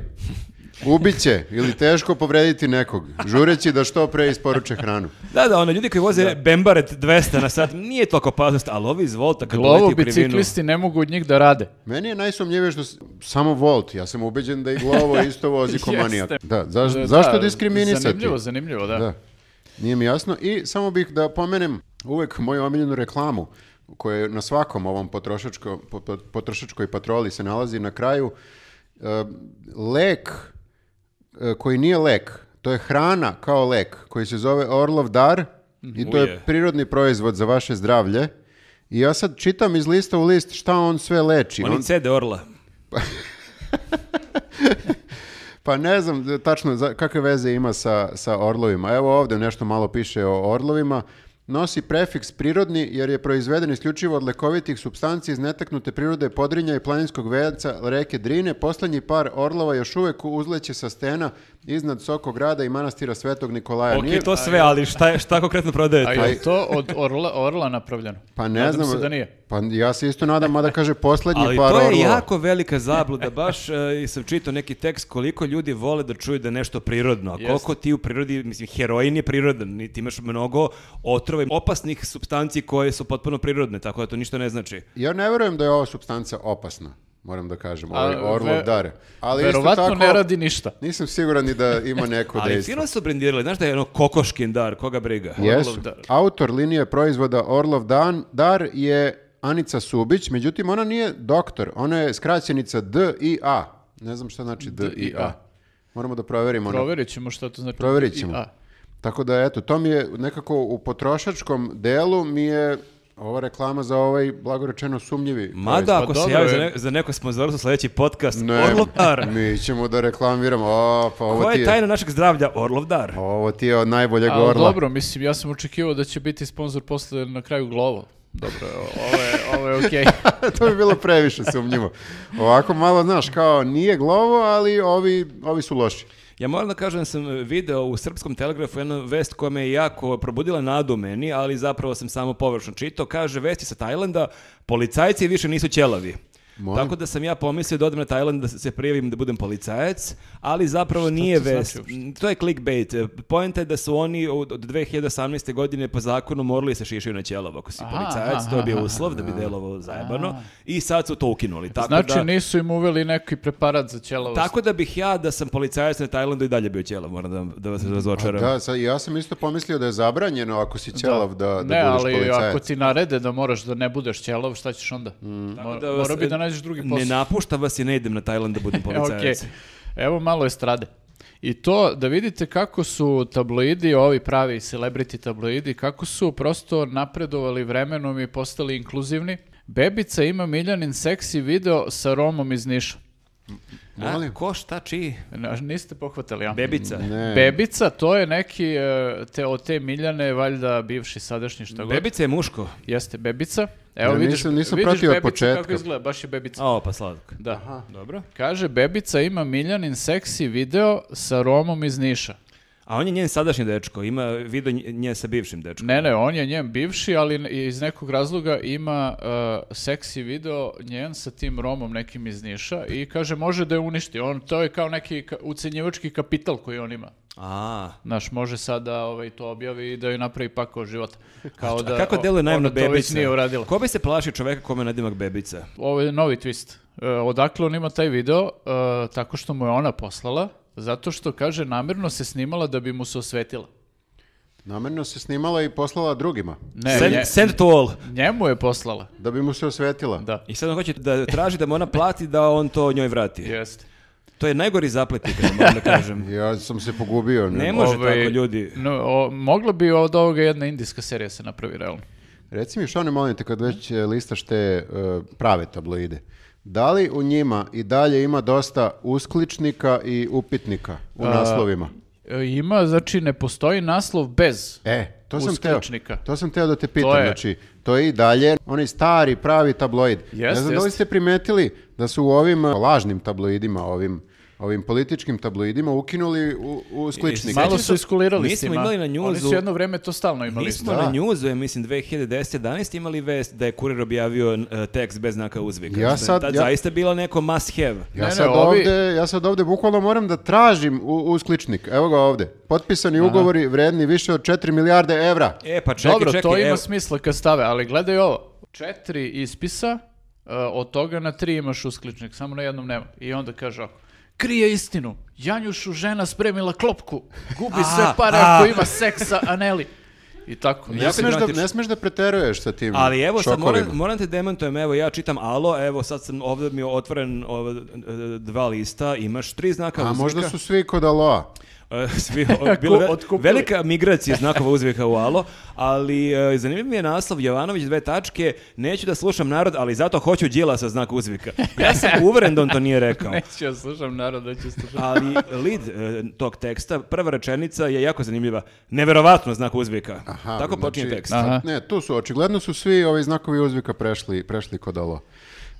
[SPEAKER 1] Ubiće ili teško povrediti nekog, žureći da što pre isporuče hranu.
[SPEAKER 3] Da, da, ono, ljudi koji voze Bembaret 200 na sat, nije toliko opasnost, ali ovi iz Volta kad uleti
[SPEAKER 2] Glovo
[SPEAKER 3] u krivinu...
[SPEAKER 2] biciklisti ne mogu od njih da rade.
[SPEAKER 1] Meni je najsumnjivije što s- samo Volt, ja sam ubeđen da i Glovo isto vozi ko manijak.
[SPEAKER 2] Jeste.
[SPEAKER 1] Da, zaš-
[SPEAKER 2] Da,
[SPEAKER 1] zašto
[SPEAKER 2] da,
[SPEAKER 1] diskriminisati?
[SPEAKER 2] Zanimljivo, zanimljivo, da.
[SPEAKER 1] Da. Nije mi jasno. I samo bih da pomenem uvek moju omiljenu reklamu koja je na svakom ovom potrošačko, po- po- potrošačkoj patroli se nalazi na kraju. E, lek e, koji nije lek, to je hrana kao lek koji se zove Orlov dar i to je
[SPEAKER 3] Uje.
[SPEAKER 1] prirodni proizvod za vaše zdravlje. I ja sad čitam iz lista u list šta on sve leči.
[SPEAKER 3] Oni
[SPEAKER 1] On-
[SPEAKER 3] cede orla.
[SPEAKER 1] Pa ne znam e, tačno za, kakve veze ima sa, sa orlovima. Evo ovdje nešto malo piše o orlovima. Nosi prefiks prirodni jer je proizveden isključivo od lekovitih supstanci iz netaknute prirode Podrinja i planinskog vejaca reke Drine. Poslednji par orlova još uvek uzleće sa stena iznad Sokog grada i manastira Svetog Nikolaja.
[SPEAKER 3] Ok,
[SPEAKER 1] Pa Nije-
[SPEAKER 3] to sve, ali šta, je- šta konkretno prodajete?
[SPEAKER 2] A je li to od orla, orla napravljeno?
[SPEAKER 1] Pa ne
[SPEAKER 2] Nadam
[SPEAKER 1] znam.
[SPEAKER 2] se da nije.
[SPEAKER 1] Pa ja se isto nadam, mada kaže poslednji
[SPEAKER 3] Ali
[SPEAKER 1] par
[SPEAKER 3] to je
[SPEAKER 1] orlova.
[SPEAKER 3] jako velika zabluda, baš e, i sam čitao neki tekst koliko ljudi vole da čuju da je nešto prirodno, a
[SPEAKER 2] Jeste.
[SPEAKER 3] koliko ti u prirodi, mislim, heroin je prirodan, ni ti imaš mnogo otrova i opasnih substanci koje su potpuno prirodne, tako da to ništa ne znači.
[SPEAKER 1] Ja ne verujem da je ova supstanca opasna, moram da kažem, ovaj
[SPEAKER 2] A,
[SPEAKER 1] orlov
[SPEAKER 2] ve-
[SPEAKER 1] dar. Ali isto
[SPEAKER 2] Verovatno
[SPEAKER 1] tako, Ono.
[SPEAKER 2] ne radi ništa.
[SPEAKER 1] Nisam siguran ni da ima neko
[SPEAKER 3] Ali
[SPEAKER 1] Pa dejstvo.
[SPEAKER 3] fino su brendirali, znaš da je ono kokoškin dar, koga briga?
[SPEAKER 1] Jesu.
[SPEAKER 2] dar.
[SPEAKER 1] Autor linije proizvoda Orlov Dan, Dar je Anica Subić, međutim ona nije doktor, ona je skraćenica D i A. Ne znam šta znači D, i A. Moramo da proverimo. ono.
[SPEAKER 2] Proverit ćemo šta to znači.
[SPEAKER 1] Proverit ćemo.
[SPEAKER 2] I- a,
[SPEAKER 1] Tako da eto, to mi je nekako u potrošačkom delu mi je ova reklama za ovaj blagorečeno sumnjivi.
[SPEAKER 3] Mada,
[SPEAKER 2] Pa
[SPEAKER 3] ako se
[SPEAKER 2] dobro
[SPEAKER 3] javi za,
[SPEAKER 2] je.
[SPEAKER 3] ne- za neko sponzorstvo sljedeći podcast,
[SPEAKER 1] proizvod. Ne,
[SPEAKER 3] Orlov dar.
[SPEAKER 1] Mi ćemo da reklamiramo. O, pa ovo
[SPEAKER 3] Koja
[SPEAKER 1] ti
[SPEAKER 3] je
[SPEAKER 1] je,
[SPEAKER 3] tajna našeg zdravlja? Orlov dar.
[SPEAKER 1] ovo ti je od najboljeg
[SPEAKER 2] Ali
[SPEAKER 1] orla.
[SPEAKER 2] dobro, mislim, ja sam očekivao da će biti sponsor posle na kraju Glovo. Dobro, ovo je, ovo je okej.
[SPEAKER 1] to bi bilo previše sumnjivo. Ovako malo, znaš, kao nije glovo, ali ovi, ovi su loši.
[SPEAKER 3] Ja moram da kažem da sam e, video u srpskom telegrafu jednu vest koja me je jako probudila nadu u meni, ali zapravo sam samo površno čitao. Kaže, vesti sa Tajlanda, policajci više nisu ćelavi.
[SPEAKER 1] Molim?
[SPEAKER 3] Tako da sam ja pomislio da odem na Tajland da se prijavim da budem policajac, ali zapravo nije
[SPEAKER 2] to znači
[SPEAKER 3] vest.
[SPEAKER 2] uopšte?
[SPEAKER 3] Mm, To je clickbait. Poenta je da su oni od od 2018. godine po zakonu morali se šišaju na ćelavo. Ako si
[SPEAKER 2] Aha,
[SPEAKER 3] policajac,
[SPEAKER 2] aha,
[SPEAKER 3] to je bio uslov da bi delovao zajebano i sad su to ukinuli. Tako
[SPEAKER 2] Znači
[SPEAKER 3] da,
[SPEAKER 2] nisu im uveli neki preparat za ćelavost.
[SPEAKER 3] Tako da bih ja da sam policajac na Tajlandu i dalje bio ćelav, moram da, vam- da vas razočaram.
[SPEAKER 1] Da, sad, ja sam isto pomislio da je zabranjeno ako si ćelav da, da,
[SPEAKER 2] ne,
[SPEAKER 1] budeš
[SPEAKER 2] ali
[SPEAKER 1] policajac. Mm.
[SPEAKER 2] ako ti narede da moraš da ne budeš ćelov, šta ćeš onda? Mor,
[SPEAKER 3] da vas-
[SPEAKER 2] morao bi da nađeš drugi posao.
[SPEAKER 3] Ne napušta vas i ne idem na Tajland da budem
[SPEAKER 2] E,
[SPEAKER 3] policajac.
[SPEAKER 2] okej. Evo malo estrade. I to da vidite kako su tabloidi, ovi pravi celebrity tabloidi, kako su prosto napredovali vremenom i postali inkluzivni. Bebica ima Miljanin seksi video sa Romom iz Niša.
[SPEAKER 3] A,
[SPEAKER 1] Molim?
[SPEAKER 3] ko šta čiji?
[SPEAKER 2] Na- Niste pohvatali, ja?
[SPEAKER 3] Bebica.
[SPEAKER 1] Ne.
[SPEAKER 2] Bebica, to je neki, e, te, od te Miljane, valjda bivši, sadašnji, šta god.
[SPEAKER 3] Bebica je muško.
[SPEAKER 2] Jeste Bebica. Evo
[SPEAKER 1] Ja
[SPEAKER 2] vidiš,
[SPEAKER 1] nisam- nisam
[SPEAKER 2] vidiš
[SPEAKER 1] pratio od
[SPEAKER 2] Bebicu kako
[SPEAKER 1] početka.
[SPEAKER 2] izgleda, baš je Bebica.
[SPEAKER 3] A, pa slatko.
[SPEAKER 2] Da.
[SPEAKER 3] Dobro.
[SPEAKER 2] Kaže, Bebica ima Miljanin seksi video sa Romom iz Niša.
[SPEAKER 3] A on je njen sadašnji dečko, ima video nje- nje sa bivšim dečkom.
[SPEAKER 2] Ne, ne, on je njen bivši, ali n- iz nekog razloga ima uh, seksi video njen sa tim Romom nekim iz Niša i kaže može da je uništi. On, to je kao neki ka, ucenjivački kapital koji on ima.
[SPEAKER 3] A,
[SPEAKER 2] Naš može sada ovaj, to objavi i da joj napravi pakao života. Kao da,
[SPEAKER 3] a kako
[SPEAKER 2] o-
[SPEAKER 3] deluje najemno
[SPEAKER 2] ona to već
[SPEAKER 3] bebica?
[SPEAKER 2] nije uradila.
[SPEAKER 3] Ko bi se plašio čoveka kome je nadimak bebica?
[SPEAKER 2] Ovo je novi twist. E, odakle on ima taj video? E, tako što mu je ona poslala, zato što kaže namjerno se snimala da bi mu se osvetila.
[SPEAKER 1] Namerno se snimala i poslala drugima,
[SPEAKER 2] Ne,
[SPEAKER 3] send,
[SPEAKER 2] nje-
[SPEAKER 3] send to all.
[SPEAKER 2] njemu je poslala.
[SPEAKER 1] da bi mu se osvetila.
[SPEAKER 2] Da,
[SPEAKER 3] I sad on hoće da traži da mu ona plati da on to njoj vrati.
[SPEAKER 2] jeste.
[SPEAKER 3] To je najgori zapletnik, moram da kažem.
[SPEAKER 1] Ja sam se pogubio. Ne?
[SPEAKER 3] Ne može
[SPEAKER 2] Ovaj,
[SPEAKER 3] tako ljudi.
[SPEAKER 2] No, o, mogla bi od ovoga jedna indijska serija se napravi, realno.
[SPEAKER 1] Reci mi što ne molim te kad već e, listaš te e, prave tabloide. Da li u njima i dalje ima dosta uskličnika i upitnika u naslovima?
[SPEAKER 2] E, Ima, znači, ne postoji naslov bez.
[SPEAKER 1] E, to sam teo.
[SPEAKER 2] Uskličnika.
[SPEAKER 1] To sam teo da te pitam,
[SPEAKER 2] To je.
[SPEAKER 1] znači to je i dalje onaj stari pravi tabloid. ne
[SPEAKER 2] Jest,
[SPEAKER 1] znam da li
[SPEAKER 2] jest.
[SPEAKER 1] ste primetili da su u ovim uh, lažnim e, tabloidima, ovim ovim političkim tabloidima ukinuli u, u skličnik.
[SPEAKER 3] Sećam
[SPEAKER 2] Malo
[SPEAKER 3] se-
[SPEAKER 2] su iskulirali
[SPEAKER 3] mi
[SPEAKER 2] s
[SPEAKER 3] smo
[SPEAKER 2] tima.
[SPEAKER 3] imali na njuzu-
[SPEAKER 2] Oni su jedno vreme to stalno imali.
[SPEAKER 3] Mi smo
[SPEAKER 2] Da.
[SPEAKER 3] na njuzu, ja mislim, 2010-11 imali vest da je kurir objavio e, tekst bez znaka uzvika.
[SPEAKER 1] Ja sad-
[SPEAKER 3] Tad
[SPEAKER 1] ja-
[SPEAKER 3] zaista bilo neko must have.
[SPEAKER 1] Ja,
[SPEAKER 2] Ne, ne,
[SPEAKER 1] sad
[SPEAKER 2] ovi-
[SPEAKER 1] ovde, ja sad ovde bukvalno moram da tražim u, uskličnik. Evo ga ovde. Potpisani ugovori vredni više od 4 milijarde evra.
[SPEAKER 3] E, pa čekaj,
[SPEAKER 2] Dobro,
[SPEAKER 3] čekaj.
[SPEAKER 2] to ima
[SPEAKER 3] evo-
[SPEAKER 2] smisla kad stave, ali gledaj ovo. Četiri ispisa, e, od toga na tri imaš uskličnik, samo na jednom nema. I onda kaže ovako, krije istinu, Janjušu žena spremila klopku, gubi sve
[SPEAKER 3] A,
[SPEAKER 2] pare
[SPEAKER 3] a.
[SPEAKER 2] ako ima seksa, a Neli. I tako.
[SPEAKER 1] Ne
[SPEAKER 3] Jako
[SPEAKER 1] smeš, da,
[SPEAKER 3] dramatično.
[SPEAKER 1] ne smeš da preteruješ sa tim
[SPEAKER 3] Ali evo sad moram,
[SPEAKER 1] šokovima.
[SPEAKER 3] moram te demantujem, evo ja čitam alo, evo sad sam ovdje mi je otvoren ovo, e, dva lista, imaš tri znaka
[SPEAKER 1] A
[SPEAKER 3] uzvika.
[SPEAKER 1] možda su svi kod Aloa.
[SPEAKER 3] E, Svi, o, bilo je ve-
[SPEAKER 2] Otkupili.
[SPEAKER 3] velika migracija znakova uzvika u alo, ali e, zanimljiv mi je naslov Jovanović dve tačke, neću da slušam narod, ali zato hoću Đila sa znak uzvika. Ja sam uveren da on to nije rekao.
[SPEAKER 2] Neću ja slušam, narod da će slušati.
[SPEAKER 3] Ali lid e, tog teksta, prva rečenica je jako zanimljiva. Neverovatno znak uzvika.
[SPEAKER 1] Aha,
[SPEAKER 3] Tako počinje
[SPEAKER 1] znači-
[SPEAKER 3] tekst.
[SPEAKER 2] Aha.
[SPEAKER 1] Ne, tu su, očigledno su svi ovi znakovi uzvika prešli, prešli kod Alo.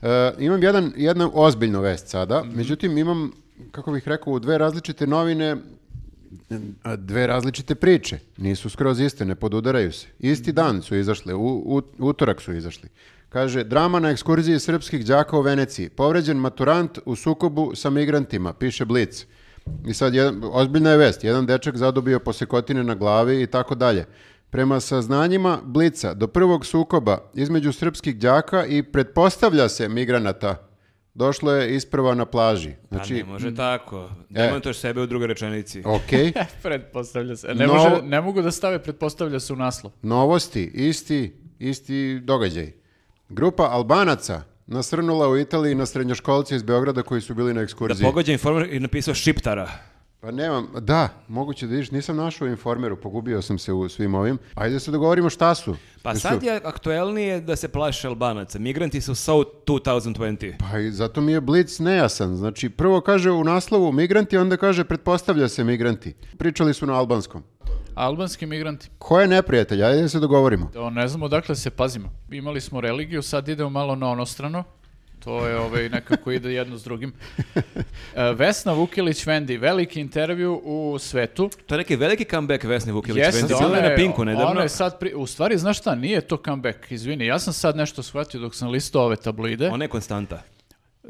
[SPEAKER 1] E, imam jedan, jednu ozbiljnu vest sada,
[SPEAKER 3] Mhm.
[SPEAKER 1] međutim imam, kako bih rekao, u dve različite novine a, dve različite priče. Nisu skroz iste, ne podudaraju se. Isti dan su izašle, u, u- utorak su izašli. Kaže, drama na ekskurziji srpskih đaka u Veneciji. Povređen maturant u sukobu sa migrantima, piše Blic. I sad, jedan, ozbiljna je vest, jedan dečak zadobio posekotine na glavi i tako dalje. Prema saznanjima Blica, do prvog sukoba između srpskih đaka i pretpostavlja se migranata, došlo je isprva na plaži.
[SPEAKER 3] Pa ne
[SPEAKER 1] Znači,
[SPEAKER 3] može tako. Demantuješ sebe u drugoj rečenici.
[SPEAKER 1] okej.
[SPEAKER 2] E, Pretpostavlja se. Ne,
[SPEAKER 1] No-
[SPEAKER 2] može, ne mogu da stave, pretpostavlja se u naslov.
[SPEAKER 1] Novosti, isti, isti događaj. Grupa Albanaca nasrnula u Italiji na srednjoškolce iz Beograda koji su bili na
[SPEAKER 3] Da
[SPEAKER 1] ekskurziji.
[SPEAKER 3] pogađa informer i napisao Šiptara.
[SPEAKER 1] Pa nemam, da, moguće da vidiš, nisam našao u informeru, pogubio sam se u svim ovim. Ajde da se dogovorimo šta su.
[SPEAKER 3] Pa
[SPEAKER 1] Jesu-
[SPEAKER 3] sad je aktuelnije da se plaše Albanaca. Migranti su so 2020.
[SPEAKER 1] Pa i zato mi je blic nejasan. Znači, prvo kaže u naslovu migranti, onda kaže pretpostavlja se migranti. Pričali su na albanskom.
[SPEAKER 2] Albanski migranti.
[SPEAKER 1] Ko je neprijatelj? Ajde da se dogovorimo.
[SPEAKER 2] To ne znamo dakle se pazimo. Imali smo religiju, sad idemo malo na onostrano. To je ovaj, nekako ide jedno s drugim. E, Vesna Vukilić-Vendi, veliki intervju u svetu.
[SPEAKER 3] To je neki veliki comeback Vesne Vukilić.
[SPEAKER 2] Jeste,
[SPEAKER 3] Jeste,
[SPEAKER 2] ona
[SPEAKER 3] ona
[SPEAKER 2] je-
[SPEAKER 3] na Pinku nedavno.
[SPEAKER 2] Ona je sad, pri- u stvari, znaš šta, nije to comeback, izvini, ja sam sad nešto shvatio dok sam listao ove tabloide.
[SPEAKER 3] Ona je konstanta.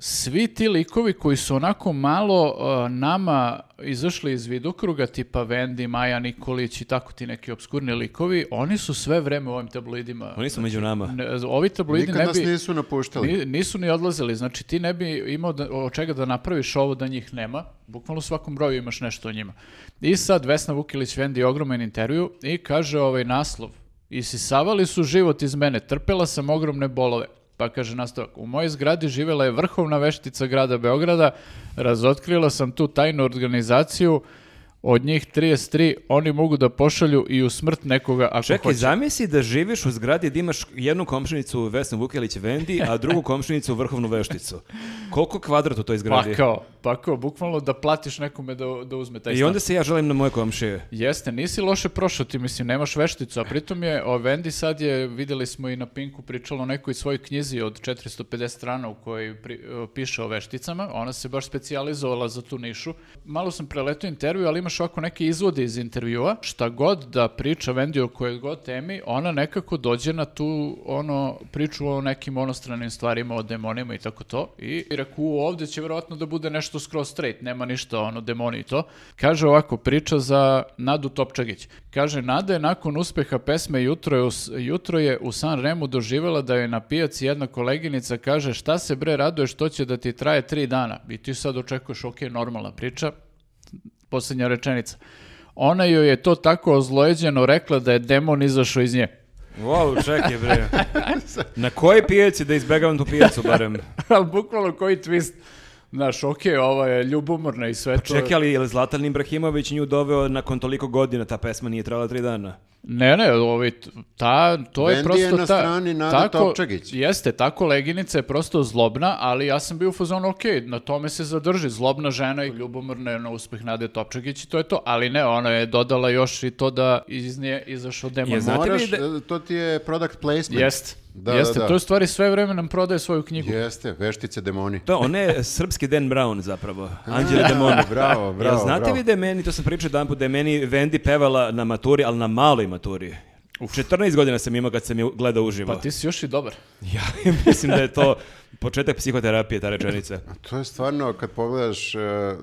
[SPEAKER 2] Svi ti likovi koji su onako malo e, nama izašli iz vidokruga, tipa Vendi, Maja Nikolić i tako ti neki obskurni likovi, oni su sve vreme u ovim tabloidima.
[SPEAKER 3] Oni su među nama.
[SPEAKER 2] Ne, ovi tabloidi
[SPEAKER 1] Nikad
[SPEAKER 2] ne
[SPEAKER 1] nas
[SPEAKER 2] bi...
[SPEAKER 1] nisu napuštali.
[SPEAKER 2] Ni- nisu ni odlazili, znači ti ne bi imao da, od čega da napraviš ovo da njih nema, bukvalno u svakom broju imaš nešto o njima. I sad Vesna Vukilić vendi ogroman intervju i kaže ovaj naslov, isisavali su život iz mene, trpela sam ogromne bolove. Pa kaže nastavak, u mojoj zgradi živela je vrhovna veštica grada Beograda, razotkrila sam tu tajnu organizaciju, od njih 33 oni mogu da pošalju i u smrt nekoga ako
[SPEAKER 3] Čekaj,
[SPEAKER 2] hoće.
[SPEAKER 3] zamisli da živiš u zgradi da imaš jednu komšinicu Vesnu Vukilić Vendi, a drugu komšinicu Vrhovnu vešticu. Koliko kvadrat u toj
[SPEAKER 2] Pa
[SPEAKER 3] zgradi?
[SPEAKER 2] kao, pa kao, bukvalno da platiš nekome da, da uzme taj
[SPEAKER 3] I
[SPEAKER 2] stan.
[SPEAKER 3] onda se ja želim na moje komšije.
[SPEAKER 2] Jeste, nisi loše prošao ti, mislim, nemaš vešticu, a pritom je o Vendi sad je, videli smo i na Pinku pričalo o nekoj svojoj knjizi od 450 strana u kojoj pri- e, piše o vešticama, ona se baš specijalizovala za tu nišu. Malo sam preletao intervju, ali imaš ovako neke izvode iz intervjua, šta god da priča Vendi o kojoj god temi, ona nekako dođe na tu ono priču o nekim onostranim stvarima, o demonima i tako to. I reku, ovdje će vjerojatno da bude nešto skroz straight, nema ništa ono demoni i to. Kaže ovako, priča za Nadu Topčagić. Kaže, Nada je nakon uspeha pesme Jutro je u, s- jutro je u San Remu doživjela da je na pijaci jedna koleginica kaže šta se bre raduješ, to će da ti traje tri dana. I ti sad očekuješ, ok, normalna priča, posljednja rečenica. Ona joj je to tako ozlojeđeno rekla da je demon izašao iz nje.
[SPEAKER 3] Wow, čekaj bre. Na kojoj pijaci da izbegavam tu pijacu barem?
[SPEAKER 2] Ali bukvalno koji twist. Znaš, ok, ova je ljubomorna i
[SPEAKER 1] Pa
[SPEAKER 2] sve to.
[SPEAKER 3] Čekaj, ali je li Zlatan Ibrahimović nju doveo nakon toliko godina, ta pesma nije trajala tri dana?
[SPEAKER 2] Ne, ne, ovaj, t- ta, to je
[SPEAKER 1] Vendi
[SPEAKER 2] prosto
[SPEAKER 1] je na
[SPEAKER 2] ta...
[SPEAKER 1] strani Nada Topčagić.
[SPEAKER 2] Jeste, ta koleginica je prosto zlobna, ali ja sam bio u fazonu, ok, na tome se zadrži, zlobna žena i ljubomorna je na uspeh Nade Topčagić i to je to, ali ne, ona je dodala još i to da iz nje izašao demon.
[SPEAKER 3] Je, znate vi
[SPEAKER 1] Moraš,
[SPEAKER 3] da-
[SPEAKER 1] e, to ti je product placement.
[SPEAKER 2] Jest.
[SPEAKER 1] Da, da,
[SPEAKER 2] Jeste,
[SPEAKER 1] da.
[SPEAKER 2] to je u stvari sve vreme nam prodaje svoju knjigu.
[SPEAKER 1] Jeste, veštice demoni.
[SPEAKER 3] To, ona je srpski Dan Brown zapravo. Anđele Demoni.
[SPEAKER 1] A, bravo, bravo,
[SPEAKER 3] Jel znate
[SPEAKER 1] bravo.
[SPEAKER 3] vi da je meni, to sam pričao jedan put, da je meni Vendi pevala na maturi, ali na maloj maturi. 14 godina sam imao kad sam je gledao uživo.
[SPEAKER 2] Pa ti si još i dobar.
[SPEAKER 3] Ja mislim da je to početak psihoterapije, ta rečenica.
[SPEAKER 1] To je stvarno, kad pogledaš, e, e, e,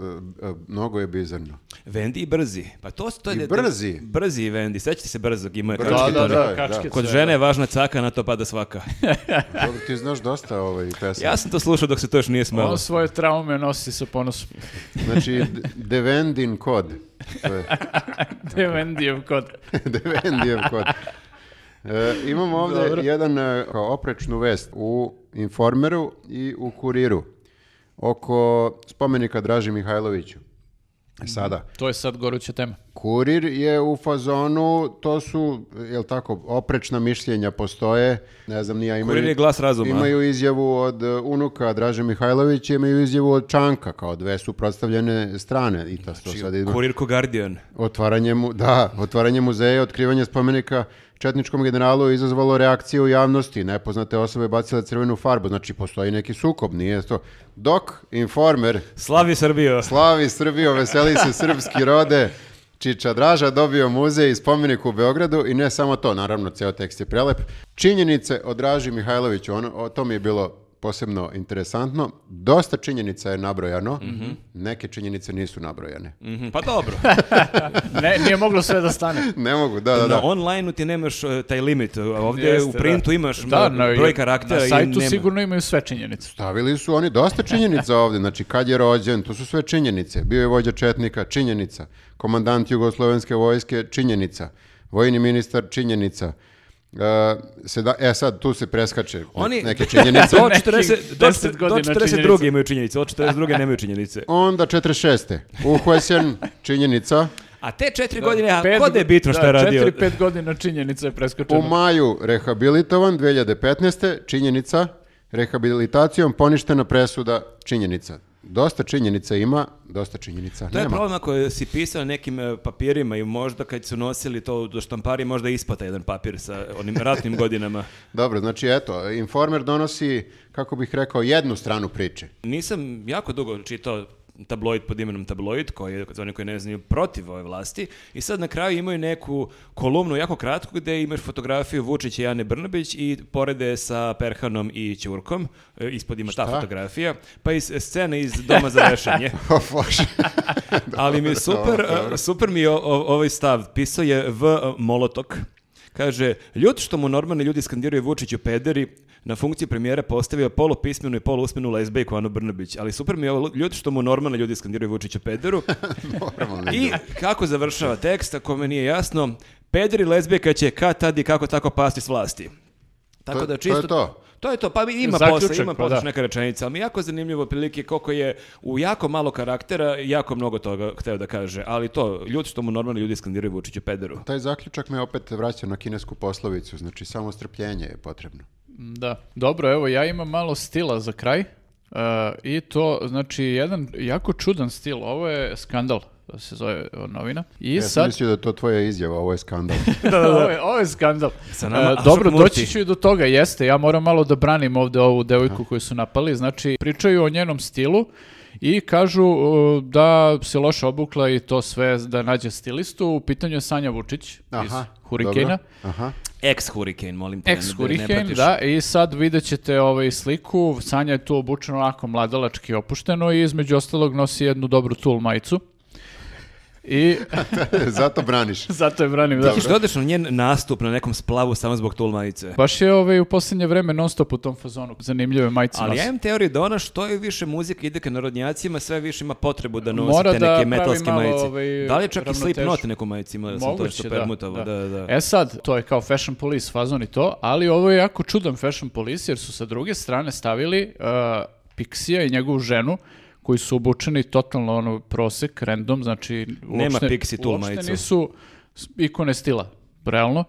[SPEAKER 1] mnogo je bizarno.
[SPEAKER 3] Vendi i brzi. Pa to, to je...
[SPEAKER 1] I brzi.
[SPEAKER 3] Brzi i Vendi. Sećate se brzog, imao je
[SPEAKER 1] Brzi.
[SPEAKER 3] kačke.
[SPEAKER 1] Da, da, da,
[SPEAKER 2] kačkice,
[SPEAKER 3] Kod žene je važna caka, na to pada svaka.
[SPEAKER 1] Dobro, ti znaš dosta ovaj pesama.
[SPEAKER 3] Ja sam to slušao dok se to još nije
[SPEAKER 2] da.
[SPEAKER 3] smelo.
[SPEAKER 2] On svoje traume nosi sa ponosom.
[SPEAKER 1] Znači, d- Devendijev kod. To je
[SPEAKER 2] Devendijev kod.
[SPEAKER 1] Devendijev kod. E, imamo ovdje jedan e, kao oprečnu vest u Informeru i u Kuriru oko spomenika Draži Mihajloviću. E Sada,
[SPEAKER 2] To je sad goruća tema.
[SPEAKER 1] Kurir je u fazonu, to su, jel tako, oprečna mišljenja postoje, ne znam, nija imaju...
[SPEAKER 3] Kurir je glas razuma.
[SPEAKER 1] Imaju izjavu od e, unuka Draže Mihajlovića, imaju izjavu od Čanka, kao dve suprotstavljene strane. I to što sad ima.
[SPEAKER 3] Znači, Kurir ko Guardian.
[SPEAKER 1] Otvaranje, mu, da, otvaranje muzeja, otkrivanje spomenika četničkom generalu je izazvalo reakcije u javnosti. Nepoznate osobe bacile crvenu farbu, znači postoji neki sukob, nije to. Dok informer
[SPEAKER 3] Slavi Srbijo.
[SPEAKER 1] Slavi Srbijo, veseli se srpski rode. Čiča Draža dobio muzej i spomenik u Beogradu i ne samo to, naravno ceo tekst je prelep. Činjenice o Draži Mihajloviću, ono, o, to mi je bilo posebno interesantno. Dosta činjenica je nabrojano, neke činjenice nisu nabrojane.
[SPEAKER 3] Mhm, Pa dobro.
[SPEAKER 2] Ne, nije moglo sve da stane.
[SPEAKER 1] Ne mogu, da, da,
[SPEAKER 3] Na
[SPEAKER 1] da.
[SPEAKER 3] online-u ti nemaš e, taj limit. Ovdje
[SPEAKER 2] Jeste,
[SPEAKER 3] u printu
[SPEAKER 2] da.
[SPEAKER 3] imaš
[SPEAKER 2] Da,
[SPEAKER 3] ma-
[SPEAKER 2] na-
[SPEAKER 3] broj karaktera
[SPEAKER 2] Na
[SPEAKER 3] i
[SPEAKER 2] sajtu
[SPEAKER 3] nema.
[SPEAKER 2] sigurno imaju sve činjenice.
[SPEAKER 1] Stavili su oni dosta činjenica ovdje, znači kad je rođen, to su sve činjenice. Bio je vođa Četnika, činjenica. Komandant Jugoslovenske vojske, činjenica. Vojni ministar, činjenica. E, seda, e sad, tu se preskače
[SPEAKER 3] Oni-
[SPEAKER 1] neke činjenice.
[SPEAKER 3] Do
[SPEAKER 2] Nekih
[SPEAKER 3] 40, do,
[SPEAKER 2] 10
[SPEAKER 3] do
[SPEAKER 2] godina
[SPEAKER 3] 42.
[SPEAKER 2] činjenica.
[SPEAKER 3] imaju činjenice, od 42. nemaju činjenice.
[SPEAKER 1] Onda 46. Uhvesen, činjenica.
[SPEAKER 3] A te četiri godine, E, a
[SPEAKER 2] Pet
[SPEAKER 3] kod je
[SPEAKER 2] go-
[SPEAKER 3] bitno šta
[SPEAKER 2] da,
[SPEAKER 3] je radio?
[SPEAKER 2] Četiri, pet godina činjenica je preskočena.
[SPEAKER 1] U maju rehabilitovan, 2015. činjenica. Rehabilitacijom poništena presuda, činjenica. Dosta činjenica ima, dosta činjenica
[SPEAKER 3] To je
[SPEAKER 1] nema.
[SPEAKER 3] problem ako si pisao na nekim e, papirima i možda kad su nosili to do štampari, možda ispata jedan papir sa onim ratnim godinama.
[SPEAKER 1] Dobro, znači eto, Informer donosi, kako bih rekao, jednu stranu priče.
[SPEAKER 3] Nisam jako dugo čitao tabloid pod imenom tabloid, koji je, za one koji ne znaju, protiv ove vlasti. I sad na kraju imaju neku kolumnu, jako kratku, gde imaš fotografiju Vučića i Ane Brnabić i porede sa Perhanom i Ćurkom. E, Ispod ima ta fotografija. Pa iz scene iz Doma za vešanje.
[SPEAKER 1] O, Pa, Bože.
[SPEAKER 3] Ali mi je
[SPEAKER 1] Dobro,
[SPEAKER 3] super,
[SPEAKER 1] dobro, dobro.
[SPEAKER 3] e, super mi je o- o- ovaj stav. Pisao je V. Molotok. Kaže, ljud što mu normalni ljudi skandiraju Vučiću pederi, na funkciju premijera postavio polupismenu i poluusmenu lezbejku Anu Brnabić. Ali super mi je ovo ljud što mu normalni ljudi skandiraju Vučiću pederu.
[SPEAKER 1] Normalni
[SPEAKER 3] I kako završava tekst, ako me nije jasno, pederi i lezbejka će kad tad i kako tako pasti s vlasti. Tako
[SPEAKER 1] To-
[SPEAKER 3] da
[SPEAKER 1] to
[SPEAKER 3] čisto...
[SPEAKER 1] je to.
[SPEAKER 3] To je to, pa ima
[SPEAKER 2] Zaključak,
[SPEAKER 3] posla, ima
[SPEAKER 2] pa
[SPEAKER 3] posla
[SPEAKER 2] da.
[SPEAKER 3] još neka rečenica, ali mi je jako zanimljivo otprilike koliko je u jako malo karaktera jako mnogo toga hteo da kaže, ali to, ljudi što mu normalno ljudi skandiraju Vučiću pederu.
[SPEAKER 1] Taj zaključak me opet vraća na kinesku poslovicu, znači samo strpljenje je potrebno.
[SPEAKER 2] Da. Dobro, evo, ja imam malo stila za kraj. E, I to, znači, jedan jako čudan stil. Ovo je skandal, da se zove e, novina. I
[SPEAKER 1] Ja sam
[SPEAKER 2] sad...
[SPEAKER 1] mislio da je to tvoja izjava, ovo je skandal.
[SPEAKER 2] ovo, je, ovo je skandal.
[SPEAKER 3] Sa nama
[SPEAKER 2] E,
[SPEAKER 3] Ašot
[SPEAKER 2] dobro,
[SPEAKER 3] Murti.
[SPEAKER 2] doći ću i do toga, jeste. Ja moram malo da branim ovde ovu devojku koju su napali. Znači, pričaju o njenom stilu i kažu e, da se loše obukla i to sve da nađe stilistu. U pitanju je Sanja Vučić iz
[SPEAKER 1] Aha,
[SPEAKER 2] Hurikena.
[SPEAKER 1] dobro. Aha.
[SPEAKER 3] Ex Hurricane, molim te.
[SPEAKER 2] Ex
[SPEAKER 3] ne- ne
[SPEAKER 2] Hurricane,
[SPEAKER 3] pratiš.
[SPEAKER 2] da, i sad vidjet ćete ovaj sliku, Sanja je tu obučena onako mladalački opušteno i između ostalog nosi jednu dobru tul majicu. I
[SPEAKER 1] Zato braniš.
[SPEAKER 2] zato je branim, da.
[SPEAKER 3] Ti ćeš da odeš na njen nastup na nekom splavu samo zbog tul majice.
[SPEAKER 2] Baš je ovaj, u posljednje vreme non stop u tom fazonu, zanimljive majice
[SPEAKER 3] Ali
[SPEAKER 2] nosi.
[SPEAKER 3] ja imam teoriju da ona što je više muzike ide ka narodnjacima, sve više ima potrebu da nosi
[SPEAKER 2] Mora
[SPEAKER 3] te
[SPEAKER 2] da
[SPEAKER 3] neke
[SPEAKER 2] pravi
[SPEAKER 3] metalske
[SPEAKER 2] malo,
[SPEAKER 3] majice.
[SPEAKER 2] ovaj,
[SPEAKER 3] da li je čak i
[SPEAKER 2] ravnotežu.
[SPEAKER 3] Slipknot neku majicu imao da sam to
[SPEAKER 2] Moguće,
[SPEAKER 3] što
[SPEAKER 2] da,
[SPEAKER 3] permutovao, da, da.
[SPEAKER 2] E sad, to je kao Fashion Police fazon i to, ali ovo je jako čudan Fashion Police jer su sa druge strane stavili uh, Pixija i njegovu ženu koji su obučeni totalno ono prosek, random, znači
[SPEAKER 3] Nema
[SPEAKER 2] uopšte,
[SPEAKER 3] Pixi tul
[SPEAKER 2] uopšte
[SPEAKER 3] majicu.
[SPEAKER 2] nisu s- ikone stila, realno.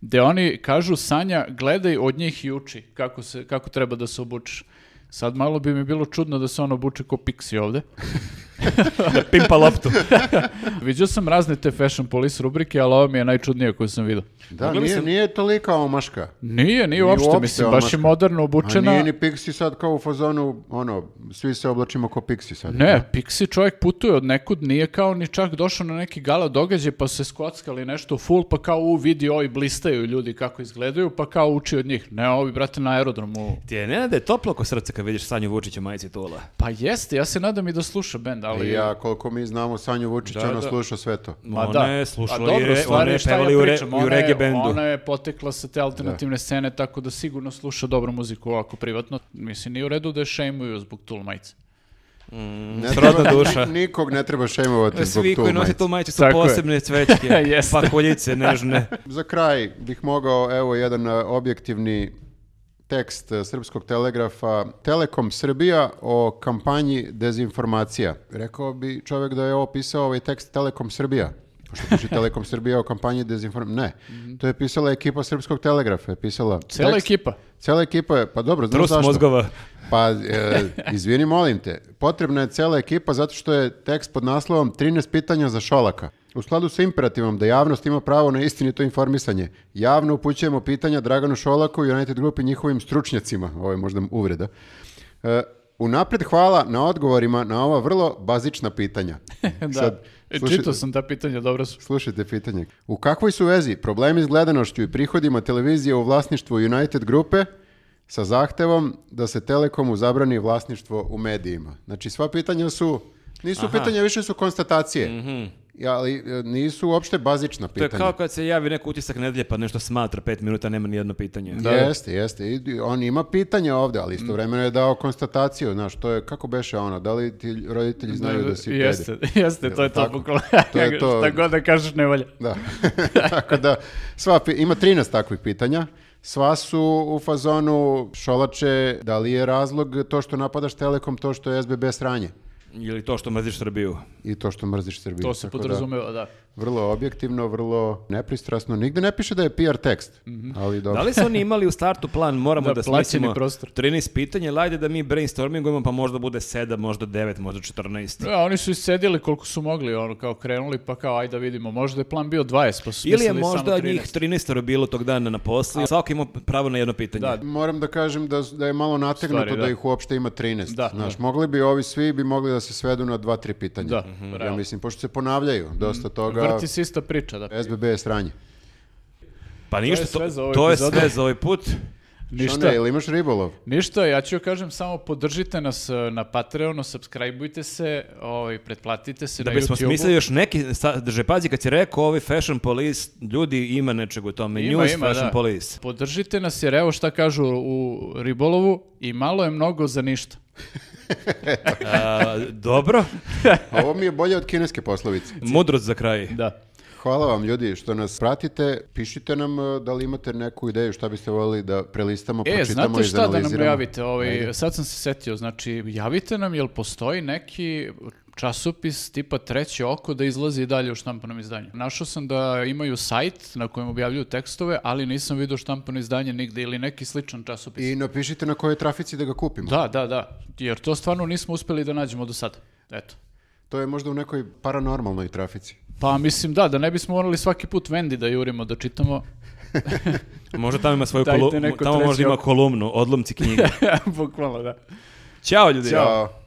[SPEAKER 2] Gde oni kažu, Sanja, gledaj od njih i uči kako, se, kako treba da se obučeš. Sad malo bi mi bilo čudno da se on obuče ko Pixi ovde.
[SPEAKER 3] Pimpa loptu.
[SPEAKER 2] Viđao sam razne te fashion police rubrike, ali ovo mi je najčudnije koju sam vidio.
[SPEAKER 1] Da,
[SPEAKER 3] Mogli
[SPEAKER 1] nije,
[SPEAKER 3] bismo-
[SPEAKER 1] nije tolika omaška.
[SPEAKER 2] Nije, nije uopšte,
[SPEAKER 1] uopšte
[SPEAKER 2] mislim, baš je
[SPEAKER 1] omaška.
[SPEAKER 2] moderno
[SPEAKER 1] A
[SPEAKER 2] obučena.
[SPEAKER 1] nije ni Pixi sad kao u fazonu, ono, svi se oblačimo kao Pixi sad.
[SPEAKER 2] Ne, Pixi čovjek putuje od nekud, nije kao ni čak došao na neki gala događaj pa se skockali nešto full, pa kao u vidi ovi blistaju ljudi kako izgledaju, pa kao uči od njih. Ne, ovi brate na aerodromu.
[SPEAKER 3] Ti je ne da je toplo oko srca kad vidiš Sanju Vučića majici Tula.
[SPEAKER 2] Pa jeste, ja se nadam i da sluša bend, ali...
[SPEAKER 1] Ja, koliko mi znamo, Sanju Vučić,
[SPEAKER 2] Da,
[SPEAKER 1] ono
[SPEAKER 2] da. Mm.
[SPEAKER 1] sluša sve to.
[SPEAKER 3] Ma
[SPEAKER 2] Ma
[SPEAKER 3] ona
[SPEAKER 2] Pa da.
[SPEAKER 3] je
[SPEAKER 2] A
[SPEAKER 3] slušala i
[SPEAKER 2] dobro,
[SPEAKER 3] re-
[SPEAKER 2] stvar
[SPEAKER 3] ona je
[SPEAKER 2] šta ja
[SPEAKER 3] pevala i u, re-
[SPEAKER 2] pričam,
[SPEAKER 3] i u
[SPEAKER 2] ona je-
[SPEAKER 3] reggae bendu.
[SPEAKER 2] Ona je potekla sa te alternativne scene, tako da sigurno sluša dobru muziku ovako privatno. Mislim, nije u redu da je šejmuju zbog Tool majice.
[SPEAKER 1] Ne
[SPEAKER 3] Srodna
[SPEAKER 1] treba-
[SPEAKER 3] duša.
[SPEAKER 1] ni- Nikog ne treba šemovati zbog
[SPEAKER 3] Svi
[SPEAKER 1] tu
[SPEAKER 3] koji nose
[SPEAKER 1] majicu.
[SPEAKER 3] tu majicu su
[SPEAKER 2] Tako je.
[SPEAKER 3] posebne cvećke,
[SPEAKER 2] Jeste.
[SPEAKER 3] pakoljice nežne.
[SPEAKER 1] Za kraj bih mogao, evo, jedan e, objektivni tekst e, Srpskog telegrafa Telekom Srbija o kampanji dezinformacija. Rekao bi čovjek da je ovo pisao ovaj tekst Telekom Srbija. Pošto piše Telekom Srbija o kampanji dezinformacija. Ne, to je pisala ekipa Srpskog telegrafa. Je pisala
[SPEAKER 2] Mhm. Cela
[SPEAKER 1] tekst.
[SPEAKER 2] ekipa.
[SPEAKER 1] Cela ekipa je, pa dobro, znaš
[SPEAKER 3] Trus
[SPEAKER 1] zašto?
[SPEAKER 3] mozgova.
[SPEAKER 1] Pa, e, izvini, molim te. Potrebna je cela ekipa zato što je tekst pod naslovom 13 pitanja za Šolaka. U skladu sa imperativom da javnost ima pravo na istinito informisanje, javno upućujemo pitanja Draganu Šolaku i United Grupi njihovim stručnjacima. Ovo je možda uvreda. E, unapred hvala na odgovorima na ova vrlo bazična pitanja.
[SPEAKER 2] da.
[SPEAKER 1] Sad,
[SPEAKER 2] E,
[SPEAKER 1] slušaj-
[SPEAKER 2] Čitao sam ta pitanja, dobro su.
[SPEAKER 1] Slušajte pitanje. U kakvoj su vezi problemi s gledanošću i prihodima televizije u vlasništvu United grupe sa zahtevom da se Telekomu zabrani vlasništvo u medijima? Znači sva pitanja su, nisu pitanja, više su konstatacije. Ali e, nisu uopšte bazična
[SPEAKER 3] To je
[SPEAKER 1] pitanja.
[SPEAKER 3] kao kad se javi neko utisak nedelje pa nešto smatra pet minuta, nema ni jedno pitanje.
[SPEAKER 1] Jeste, jeste. I- i on ima pitanja ovdje, ali istovremeno je dao konstataciju. Znaš, to je, kako beše ono, da li ti roditelji znaju da si peder?
[SPEAKER 2] Jeste, jeste, to je to
[SPEAKER 1] Tako.
[SPEAKER 2] bukvalno.
[SPEAKER 1] To je to.
[SPEAKER 2] Šta god da kažeš ne valja.
[SPEAKER 1] Da. Tako da, sva, pi- ima 13 takvih pitanja. Sva su u fazonu Šolače, da li je razlog to što napadaš Telekom, to što je SBB sranje
[SPEAKER 3] Ili to što mrziš Srbiju.
[SPEAKER 1] i to što mrziš Srbiju.
[SPEAKER 2] To se
[SPEAKER 1] Tako da,
[SPEAKER 2] podrazumeva, da.
[SPEAKER 1] vrlo objektivno, vrlo nepristrasno. Nigde ne piše da je PR tekst,
[SPEAKER 2] Mhm.
[SPEAKER 1] ali dobro.
[SPEAKER 3] Da li su oni imali u startu plan, moramo
[SPEAKER 2] Da,
[SPEAKER 3] da,
[SPEAKER 2] plaćeni
[SPEAKER 3] smislimo
[SPEAKER 2] prostor.
[SPEAKER 3] 13 pitanja, ili ajde da mi brainstormingujemo, pa možda bude 7, možda 9, možda 14.
[SPEAKER 2] Ja, E, oni su iscedili koliko su mogli, ono, kao krenuli, pa kao, ajde da vidimo, možda je plan bio 20, pa su
[SPEAKER 3] Ili je
[SPEAKER 2] mislili samo
[SPEAKER 3] možda
[SPEAKER 2] 13.
[SPEAKER 3] njih 13 bilo tog dana na poslu, svako ima pravo na jedno pitanje.
[SPEAKER 2] Da.
[SPEAKER 1] Moram da kažem da, da je malo nategnuto
[SPEAKER 2] Stvari,
[SPEAKER 1] da.
[SPEAKER 2] da.
[SPEAKER 1] ih uopšte ima 13.
[SPEAKER 2] Da,
[SPEAKER 1] Znaš, mogli bi ovi svi bi mogli da se svedu na dva, tri pitanja.
[SPEAKER 2] Da, Mhm.
[SPEAKER 1] ja
[SPEAKER 2] realno.
[SPEAKER 1] mislim, pošto se ponavljaju dosta toga. E,
[SPEAKER 2] Vrti se ista priča, da.
[SPEAKER 1] SBB je sranje.
[SPEAKER 3] Pa ništa,
[SPEAKER 2] je sve
[SPEAKER 3] to,
[SPEAKER 2] za ovaj
[SPEAKER 3] to je
[SPEAKER 2] epizodu.
[SPEAKER 3] sve za ovaj put.
[SPEAKER 2] Ništa,
[SPEAKER 1] Šone, ili imaš ribolov?
[SPEAKER 2] ništa, ja ću joj kažem samo podržite nas e, na Patreonu, subscribeujte se, ovaj, pretplatite se
[SPEAKER 3] Da
[SPEAKER 2] na
[SPEAKER 3] bismo
[SPEAKER 2] YouTube-u.
[SPEAKER 3] smislili još neki sadržaj. Pazi, kad si rekao ovi Fashion Police, ljudi ima nečeg u tome. News Fashion
[SPEAKER 2] da.
[SPEAKER 3] Police.
[SPEAKER 2] Podržite nas jer evo šta kažu u ribolovu i malo je mnogo za ništa.
[SPEAKER 3] A, dobro,
[SPEAKER 1] Ovo mi je bolje od kineske poslovice.
[SPEAKER 3] mudrost za kraj.
[SPEAKER 2] Da.
[SPEAKER 1] Hvala vam ljudi što nas pratite. Pišite nam e, da li imate neku ideju šta biste voljeli da prelistamo,
[SPEAKER 2] E,
[SPEAKER 1] pročitamo
[SPEAKER 2] znate
[SPEAKER 1] i
[SPEAKER 2] šta da nam
[SPEAKER 1] izanaliziramo.
[SPEAKER 2] javite? Ovaj, sad sam se setio, znači, javite nam jel postoji neki časopis tipa treće oko da izlazi i dalje u štampanom izdanju. Našao sam da imaju sajt na kojem objavljuju tekstove, ali nisam vidio štampano izdanje nigde ili neki sličan časopis.
[SPEAKER 1] I napišite na kojoj trafici da ga kupimo.
[SPEAKER 2] Da, da, da. Jer to stvarno nismo uspeli da nađemo do sada. Eto.
[SPEAKER 1] To je možda u nekoj paranormalnoj trafici.
[SPEAKER 2] Pa mislim da, da ne bismo morali svaki put Vendi da jurimo da čitamo.
[SPEAKER 3] Možda tamo ima svoju
[SPEAKER 2] Dajte
[SPEAKER 3] kolumnu,
[SPEAKER 2] neko
[SPEAKER 3] tamo
[SPEAKER 2] treći
[SPEAKER 3] možda ima
[SPEAKER 2] oko.
[SPEAKER 3] kolumnu, odlomci knjiga.
[SPEAKER 2] Bukvalno da.
[SPEAKER 3] Ćao ljudi.
[SPEAKER 1] Ćao.